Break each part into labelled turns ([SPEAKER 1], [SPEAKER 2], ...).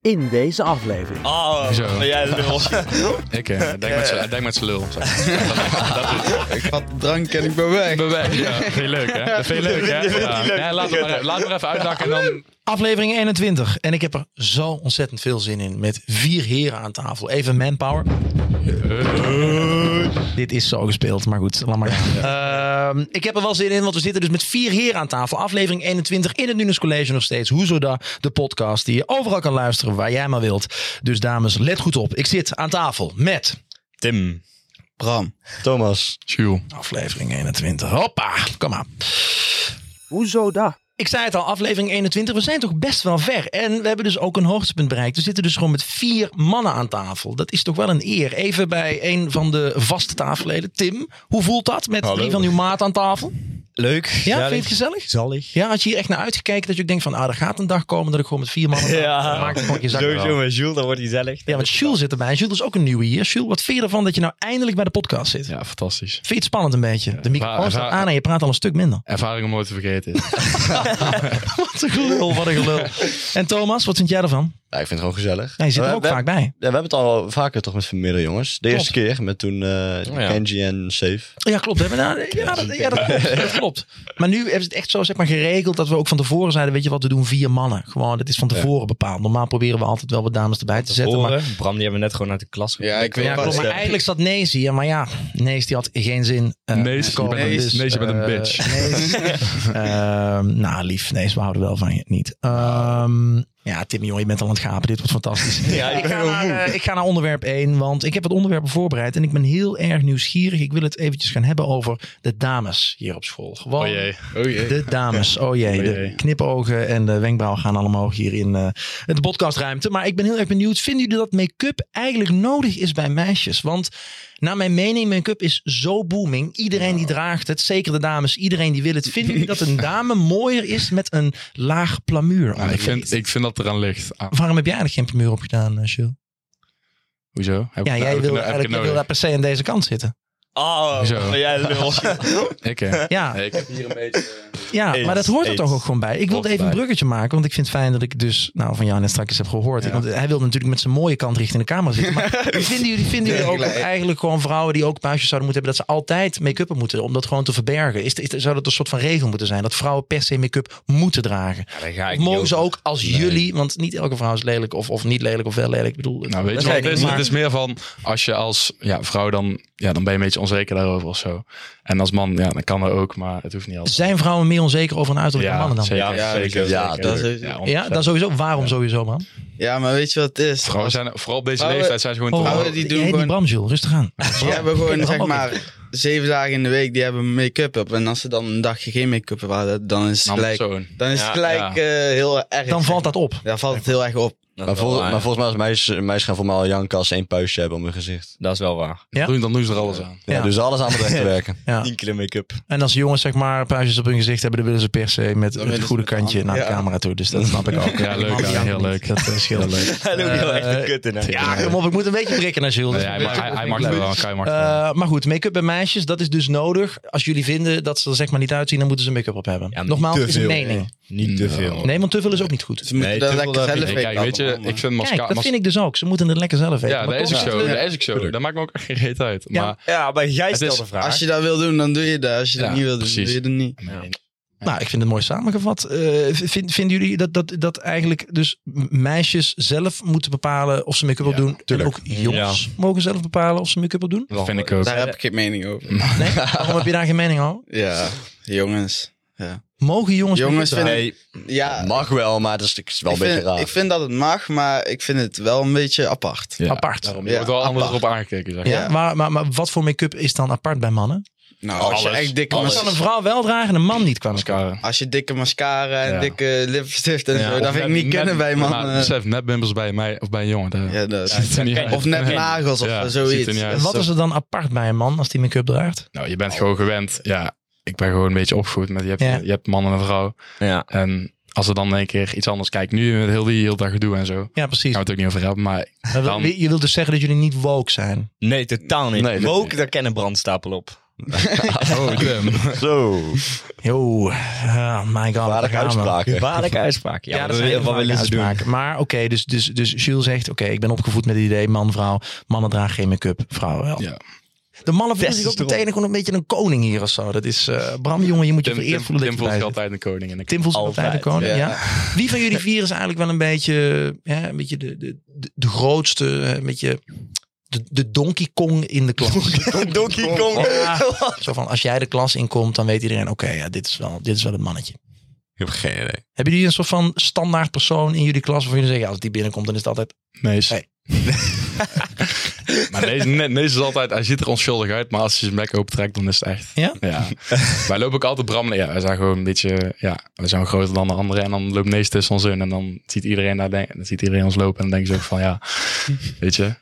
[SPEAKER 1] in deze aflevering.
[SPEAKER 2] Oh,
[SPEAKER 3] Zo.
[SPEAKER 2] ben jij lul.
[SPEAKER 3] Ik eh, denk met z'n- denk met z'n lul. Zo.
[SPEAKER 4] Ik had drank en ik ben weg.
[SPEAKER 3] Bij mij. Ja, vind je leuk, hè? Dat vind je leuk, hè? Ja. Ja, laat, het maar, laat het maar even uitdakken en dan...
[SPEAKER 5] Aflevering 21. En ik heb er zo ontzettend veel zin in. Met vier heren aan tafel. Even manpower. Dit is zo gespeeld, maar goed, laat maar gaan. Ehm, ik heb er wel zin in, want we zitten dus met vier heren aan tafel. Aflevering 21 in het Nunes College nog steeds. Hoezo da? De podcast die je overal kan luisteren, waar jij maar wilt. Dus dames, let goed op. Ik zit aan tafel met
[SPEAKER 2] Tim.
[SPEAKER 4] Bram.
[SPEAKER 1] Thomas.
[SPEAKER 3] Sjoel.
[SPEAKER 5] aflevering 21. Hoppa, kom maar.
[SPEAKER 1] Hoezo dat?
[SPEAKER 5] Ik zei het al, aflevering 21. We zijn toch best wel ver. En we hebben dus ook een hoogtepunt bereikt. We zitten dus gewoon met vier mannen aan tafel. Dat is toch wel een eer. Even bij een van de vaste tafelleden. Tim, hoe voelt dat met drie van uw maat aan tafel?
[SPEAKER 4] Leuk.
[SPEAKER 5] Ja, vind je het gezellig?
[SPEAKER 4] Zalig.
[SPEAKER 5] Ja, had je hier echt naar uitgekeken dat je ook denkt van... Ah, er gaat een dag komen dat ik gewoon met vier mannen...
[SPEAKER 2] Ja.
[SPEAKER 5] maak ik gewoon je zak wel.
[SPEAKER 2] Sowieso met Jules, dat wordt gezellig.
[SPEAKER 5] Ja, want Jules zit erbij. Jules is ook een nieuwe hier. Jules, wat vind je ervan dat je nou eindelijk bij de podcast zit?
[SPEAKER 3] Ja, fantastisch.
[SPEAKER 5] Vind je het spannend een beetje? De microfoon
[SPEAKER 3] waar-
[SPEAKER 5] staat
[SPEAKER 3] waar-
[SPEAKER 5] aan en je praat al een stuk minder.
[SPEAKER 3] Ervaring om nooit te vergeten.
[SPEAKER 5] Wat een gelul, wat een gelul. En Thomas, wat vind jij ervan?
[SPEAKER 6] Ja, ik vind het gewoon gezellig.
[SPEAKER 5] Hij zit er
[SPEAKER 6] We-
[SPEAKER 5] ook
[SPEAKER 6] we,
[SPEAKER 5] vaak bij.
[SPEAKER 6] Ja, we hebben het al vaker toch met vanmiddag, jongens. De eerste keer met toen eh
[SPEAKER 2] Oh
[SPEAKER 3] ja.
[SPEAKER 6] Kenji en Safe.
[SPEAKER 5] Ja, klopt. Hè? Maar nou, ja, dat, ja, dat klopt. Dat klopt. Maar nu hebben ze het echt zo zeg maar, geregeld dat we ook van tevoren zeiden, weet je wat, we doen vier mannen. Gewoon, dat is van tevoren bepaald. Normaal proberen we altijd wel wat dames erbij te zetten. Maar,
[SPEAKER 2] Horen. Bram, die hebben we net gewoon uit de klas gehaald.
[SPEAKER 4] Ja, ik weet
[SPEAKER 5] ja,
[SPEAKER 4] wat.
[SPEAKER 5] klopt, maar eigenlijk zat Nees hier. Maar ja, Nees die had geen zin. eh,
[SPEAKER 3] Nees,
[SPEAKER 5] te
[SPEAKER 3] je bent een- Nees, je bent een
[SPEAKER 5] eh,
[SPEAKER 3] bitch.
[SPEAKER 5] Nees. Ehm, nou, lief. Nees, we houden wel van je. Niet. Ehm, ja, Tim, joh, je bent al aan het gapen. Dit wordt fantastisch.
[SPEAKER 2] Ja, ik
[SPEAKER 5] ik,
[SPEAKER 2] ben
[SPEAKER 5] ga
[SPEAKER 2] wel
[SPEAKER 5] naar, eh, ik ga naar onderwerp 1, want ik heb wat onderwerpen voorbereid. En ik ben heel erg nieuwsgierig. Ik wil het eventjes gaan hebben over de dames hier op school. Gewoon
[SPEAKER 3] Oh jee.
[SPEAKER 5] de dames. Oh jee,
[SPEAKER 3] Oh
[SPEAKER 5] de
[SPEAKER 3] jee.
[SPEAKER 5] knipogen en de wenkbrauwen gaan allemaal omhoog hier in eh, de podcastruimte. Maar ik ben heel erg benieuwd, vinden jullie dat make-up eigenlijk nodig is bij meisjes? Want naar mijn mening, make-up is zo booming. Iedereen
[SPEAKER 3] Nou.
[SPEAKER 5] die draagt het, zeker de dames, iedereen die wil het. Vinden jullie dat een dame mooier is met een laag plamuur?
[SPEAKER 3] Nou, ik, vind, ik vind dat eraan ligt. Ah,
[SPEAKER 5] Waarom heb jij eigenlijk geen plamuur op gedaan, eh, Jules?
[SPEAKER 3] hoezo? Heb
[SPEAKER 5] Ja,
[SPEAKER 3] ik- nou-
[SPEAKER 5] jij
[SPEAKER 3] heb
[SPEAKER 5] wil
[SPEAKER 3] ik- heb ik het
[SPEAKER 5] eigenlijk jij wil daar
[SPEAKER 3] nodig?
[SPEAKER 5] per se aan deze kant zitten.
[SPEAKER 2] Oh,
[SPEAKER 3] Zo.
[SPEAKER 2] ben jij lul.
[SPEAKER 3] Ik, eh,
[SPEAKER 5] Ja,
[SPEAKER 3] nee, ik heb hier een beetje...
[SPEAKER 5] Ja,
[SPEAKER 2] Eens,
[SPEAKER 5] maar dat hoort er
[SPEAKER 2] eens.
[SPEAKER 5] toch ook gewoon bij. Ik wilde
[SPEAKER 3] Hoort
[SPEAKER 5] even een
[SPEAKER 3] bij.
[SPEAKER 5] bruggetje maken, want ik vind het fijn dat ik dus nou, van jou net straks heb gehoord.
[SPEAKER 3] Ja.
[SPEAKER 5] Want hij wilde natuurlijk met zijn mooie kant richting de camera zitten. Maar vinden jullie, vinden jullie ook dat eigenlijk gewoon vrouwen die ook puistjes zouden moeten hebben, dat ze altijd make-up moeten om dat gewoon te verbergen? Is, is, zou dat een soort van regel moeten zijn? Dat vrouwen per se make-up moeten dragen? Of mogen ze ook als jullie, want niet elke vrouw is lelijk of, of niet lelijk of wel lelijk. Ik bedoel,
[SPEAKER 3] Nou, weet
[SPEAKER 5] dat
[SPEAKER 3] je wat
[SPEAKER 5] zijn
[SPEAKER 3] het is?
[SPEAKER 5] dingen,
[SPEAKER 3] Het is meer van, als je als ja, vrouw dan... Ja, dan ben je een beetje onzeker daarover of zo. En als man, ja, dan kan dat ook, maar het hoeft niet
[SPEAKER 5] maar
[SPEAKER 3] altijd.
[SPEAKER 5] Zijn vrouwen meer onzeker over hun uiterlijk dan
[SPEAKER 3] Ja,
[SPEAKER 5] mannen dan?
[SPEAKER 3] zeker.
[SPEAKER 2] Ja,
[SPEAKER 3] zeker.
[SPEAKER 6] Ja,
[SPEAKER 3] zeker.
[SPEAKER 4] dat is-
[SPEAKER 3] Ja,
[SPEAKER 5] Ja, dan sowieso. Waarom sowieso, man?
[SPEAKER 4] Ja, maar weet je wat het is?
[SPEAKER 3] Vrouwen zijn, vooral op deze
[SPEAKER 4] Vrouwen-
[SPEAKER 3] leeftijd zijn ze gewoon te
[SPEAKER 4] vrouwen
[SPEAKER 3] oud.
[SPEAKER 4] die
[SPEAKER 5] je
[SPEAKER 4] doen
[SPEAKER 5] heet
[SPEAKER 4] gewoon-
[SPEAKER 5] niet oh, Bram, Jules. Rustig aan. Oh,
[SPEAKER 4] Die hebben gewoon,
[SPEAKER 5] Bram
[SPEAKER 4] zeg
[SPEAKER 5] ook.
[SPEAKER 4] maar, zeven dagen in de week, die hebben make-up op. En als ze dan een dagje geen make-up op hadden, dan is het
[SPEAKER 3] Nam
[SPEAKER 4] gelijk,
[SPEAKER 3] zo'n.
[SPEAKER 4] dan is het
[SPEAKER 2] Ja,
[SPEAKER 4] gelijk eh, heel erg.
[SPEAKER 5] Dan valt dat op.
[SPEAKER 4] Daar valt het heel erg op.
[SPEAKER 6] Maar, vol- maar volgens mij als meisjes, meisjes gaan voor mij al janken als ze één puistje hebben op hun gezicht.
[SPEAKER 2] Dat is wel waar.
[SPEAKER 5] Ja?
[SPEAKER 3] Doen, dan doen ze er alles aan.
[SPEAKER 6] Ja,
[SPEAKER 5] Ja.
[SPEAKER 6] dus alles aan het recht te werken.
[SPEAKER 5] Ja.
[SPEAKER 6] 10 kilo make-up.
[SPEAKER 5] En als jongens zeg maar puistjes op hun gezicht hebben, dan willen ze per se met het
[SPEAKER 4] willen ze
[SPEAKER 5] goede
[SPEAKER 4] met de
[SPEAKER 5] kantje
[SPEAKER 4] hand.
[SPEAKER 5] naar de
[SPEAKER 4] Ja.
[SPEAKER 5] camera toe. Dus dat snap ik ook.
[SPEAKER 3] Ja, leuk,
[SPEAKER 5] Man, die
[SPEAKER 3] ja,
[SPEAKER 5] janken
[SPEAKER 3] heel
[SPEAKER 5] niet.
[SPEAKER 3] leuk.
[SPEAKER 5] Dat eh, is heel leuk.
[SPEAKER 2] Hij loopt heel echt de kut in. hè.
[SPEAKER 5] Ja, kom op, ik moet een beetje prikken naar Jules.
[SPEAKER 3] Nee,
[SPEAKER 5] Dat is
[SPEAKER 3] hij,
[SPEAKER 5] een
[SPEAKER 3] mag- hij,
[SPEAKER 5] beetje-
[SPEAKER 3] hij mag er wel, Kai mag er wel.
[SPEAKER 5] Eh, maar goed, make-up bij meisjes, dat is dus nodig. Als jullie vinden dat ze er zeg maar niet uitzien, dan moeten ze make-up op hebben.
[SPEAKER 2] Ja, maar
[SPEAKER 5] Nogmaals,
[SPEAKER 2] niet
[SPEAKER 5] het
[SPEAKER 2] te
[SPEAKER 5] is een
[SPEAKER 2] veel.
[SPEAKER 5] mening.
[SPEAKER 2] Niet te veel.
[SPEAKER 3] Oh.
[SPEAKER 5] Nee, want te veel is ook niet goed.
[SPEAKER 4] Ze moeten
[SPEAKER 2] Nee,
[SPEAKER 4] dat
[SPEAKER 2] te veel,
[SPEAKER 4] lekker
[SPEAKER 2] dat
[SPEAKER 4] zelf
[SPEAKER 2] vind
[SPEAKER 3] Nee,
[SPEAKER 4] weten
[SPEAKER 3] kijk, weet je,
[SPEAKER 4] allemaal,
[SPEAKER 3] ik vind
[SPEAKER 5] Kijk,
[SPEAKER 3] mascara...
[SPEAKER 5] dat vind ik dus ook. Ze moeten het lekker zelf weten.
[SPEAKER 3] Ja,
[SPEAKER 5] Maar nou.
[SPEAKER 3] dat is ook
[SPEAKER 5] toch
[SPEAKER 3] zo.
[SPEAKER 5] moeten we-
[SPEAKER 3] Dat is ook zo. Dat maakt me ook echt reet uit.
[SPEAKER 5] Ja.
[SPEAKER 3] Maar
[SPEAKER 2] Ja, maar jij
[SPEAKER 3] Het
[SPEAKER 2] stelt
[SPEAKER 3] is-
[SPEAKER 2] de
[SPEAKER 4] maar.
[SPEAKER 2] vraag.
[SPEAKER 4] Als je dat wil doen, dan doe je dat. Als je
[SPEAKER 3] Ja,
[SPEAKER 4] dat niet wil doen,
[SPEAKER 3] precies.
[SPEAKER 4] doe je dat niet.
[SPEAKER 5] Nou, ik vind het mooi samengevat. Eh, vind, vinden jullie dat, dat, dat eigenlijk dus meisjes zelf moeten bepalen of ze make-up op doen? En ook jongens mogen zelf bepalen of ze make-up op doen?
[SPEAKER 3] dat vind ik ook.
[SPEAKER 4] Daar heb ik geen mening over.
[SPEAKER 5] Nee? Waarom heb je daar geen mening over?
[SPEAKER 4] Ja, jongens.
[SPEAKER 5] Mogen jongens
[SPEAKER 4] Jongens
[SPEAKER 5] make-up
[SPEAKER 4] vinden... Ja,
[SPEAKER 6] Mag wel, maar dat is, het is wel
[SPEAKER 4] eh, ik
[SPEAKER 6] een
[SPEAKER 4] vind,
[SPEAKER 6] beetje raar.
[SPEAKER 4] ik vind dat het mag, maar ik vind het wel een beetje apart.
[SPEAKER 3] Ja,
[SPEAKER 5] apart?
[SPEAKER 3] Je wordt wel anders op aangekeken, zeg.
[SPEAKER 5] Ja, Maar, maar, maar wat voor make-up is dan apart bij mannen?
[SPEAKER 4] Nou, als je
[SPEAKER 3] Alles.
[SPEAKER 4] echt dikke,
[SPEAKER 5] Dat
[SPEAKER 4] mas-
[SPEAKER 5] kan een vrouw wel dragen en een man niet qua make-up.
[SPEAKER 3] Mascara.
[SPEAKER 4] als je dikke mascara en
[SPEAKER 3] Ja.
[SPEAKER 4] dikke lipstift en zo,
[SPEAKER 3] Of
[SPEAKER 4] dat vind ik
[SPEAKER 3] net-
[SPEAKER 4] niet kennen
[SPEAKER 3] net-
[SPEAKER 4] bij mannen.
[SPEAKER 3] Maar besef, nepbimbels bij mij of bij een jongen. daar-
[SPEAKER 4] ja, dat
[SPEAKER 3] ziet er niet uit.
[SPEAKER 4] Of net nagels of
[SPEAKER 3] Ja, ziet er
[SPEAKER 4] zoiets.
[SPEAKER 3] niet uit.
[SPEAKER 5] En wat is er dan apart bij een man als die make-up draagt?
[SPEAKER 3] Nou, je bent gewoon gewend. Ja, ik ben gewoon een beetje opgevoed met je hebt,
[SPEAKER 5] Oh. Ja.
[SPEAKER 3] je hebt man en een vrouw.
[SPEAKER 2] Ja.
[SPEAKER 3] En als er dan in één keer iets anders kijkt, nu met heel die heel dat gedoe en zo. Gaan
[SPEAKER 5] Ja, precies. Nou,
[SPEAKER 3] we het ook niet over hebben, maar
[SPEAKER 5] Maar wil-
[SPEAKER 3] dan-
[SPEAKER 5] Je wilt dus zeggen dat jullie niet woke zijn.
[SPEAKER 2] Nee, totaal niet.
[SPEAKER 6] Nee, dat-
[SPEAKER 2] Woke, daar kennen brandstapel op.
[SPEAKER 3] Oh, damn.
[SPEAKER 6] Zo,
[SPEAKER 5] Yo, oh my god. daar
[SPEAKER 6] waardige
[SPEAKER 5] gaan we.
[SPEAKER 6] uitspraken.
[SPEAKER 2] Gevaarlijke uitspraak. Ja,
[SPEAKER 5] Ja,
[SPEAKER 2] wat
[SPEAKER 5] dat
[SPEAKER 2] wil-
[SPEAKER 5] zijn
[SPEAKER 2] wat willen ze
[SPEAKER 5] uitspraken.
[SPEAKER 2] doen?
[SPEAKER 5] Maar oké, dus, dus, dus Jules zegt: Oké, ik ben opgevoed met het idee man, vrouw. Mannen dragen geen make-up, vrouwen wel.
[SPEAKER 3] Ja.
[SPEAKER 5] De mannen voelen zich ook
[SPEAKER 2] Testosteron.
[SPEAKER 5] meteen gewoon een beetje een koning hier of zo. Dat is eh, Bram, jongen, je moet je
[SPEAKER 3] Tim,
[SPEAKER 5] vereerd
[SPEAKER 3] Tim,
[SPEAKER 5] voelen. dat je
[SPEAKER 3] Tim
[SPEAKER 5] erbij
[SPEAKER 3] voelt zich
[SPEAKER 5] zit.
[SPEAKER 3] altijd een koning. En ik
[SPEAKER 5] Tim voelt zich
[SPEAKER 2] Altijd,
[SPEAKER 5] altijd de koning. Ja.
[SPEAKER 4] ja.
[SPEAKER 5] Wie van jullie vier is eigenlijk wel een beetje, ja, een beetje de, de, de, de grootste, eh, een beetje de, de Donkey Kong in de klas?
[SPEAKER 2] Donkey Kong.
[SPEAKER 5] Ja. Zo van als jij de klas inkomt, dan weet iedereen: Oké, ja, dit is wel, dit is wel het mannetje.
[SPEAKER 6] Ik heb geen idee.
[SPEAKER 5] Hebben jullie een soort van standaard persoon in jullie klas? Of jullie zeggen, ja, als die binnenkomt, dan is het altijd...
[SPEAKER 3] Mees.
[SPEAKER 5] Hey.
[SPEAKER 3] maar Mees, nee, Mees is altijd, hij ziet er onschuldig uit, maar als hij zijn bek opentrekt, dan is het echt.
[SPEAKER 5] Ja?
[SPEAKER 3] ja. wij lopen ook altijd bram. Ja, wij zijn gewoon een beetje, ja, we zijn groter dan de anderen. En dan loopt Mees tussen ons in en dan ziet iedereen, daar, denk- dan ziet iedereen ons lopen en dan denken ze ook van, ja, weet je.
[SPEAKER 5] Ja,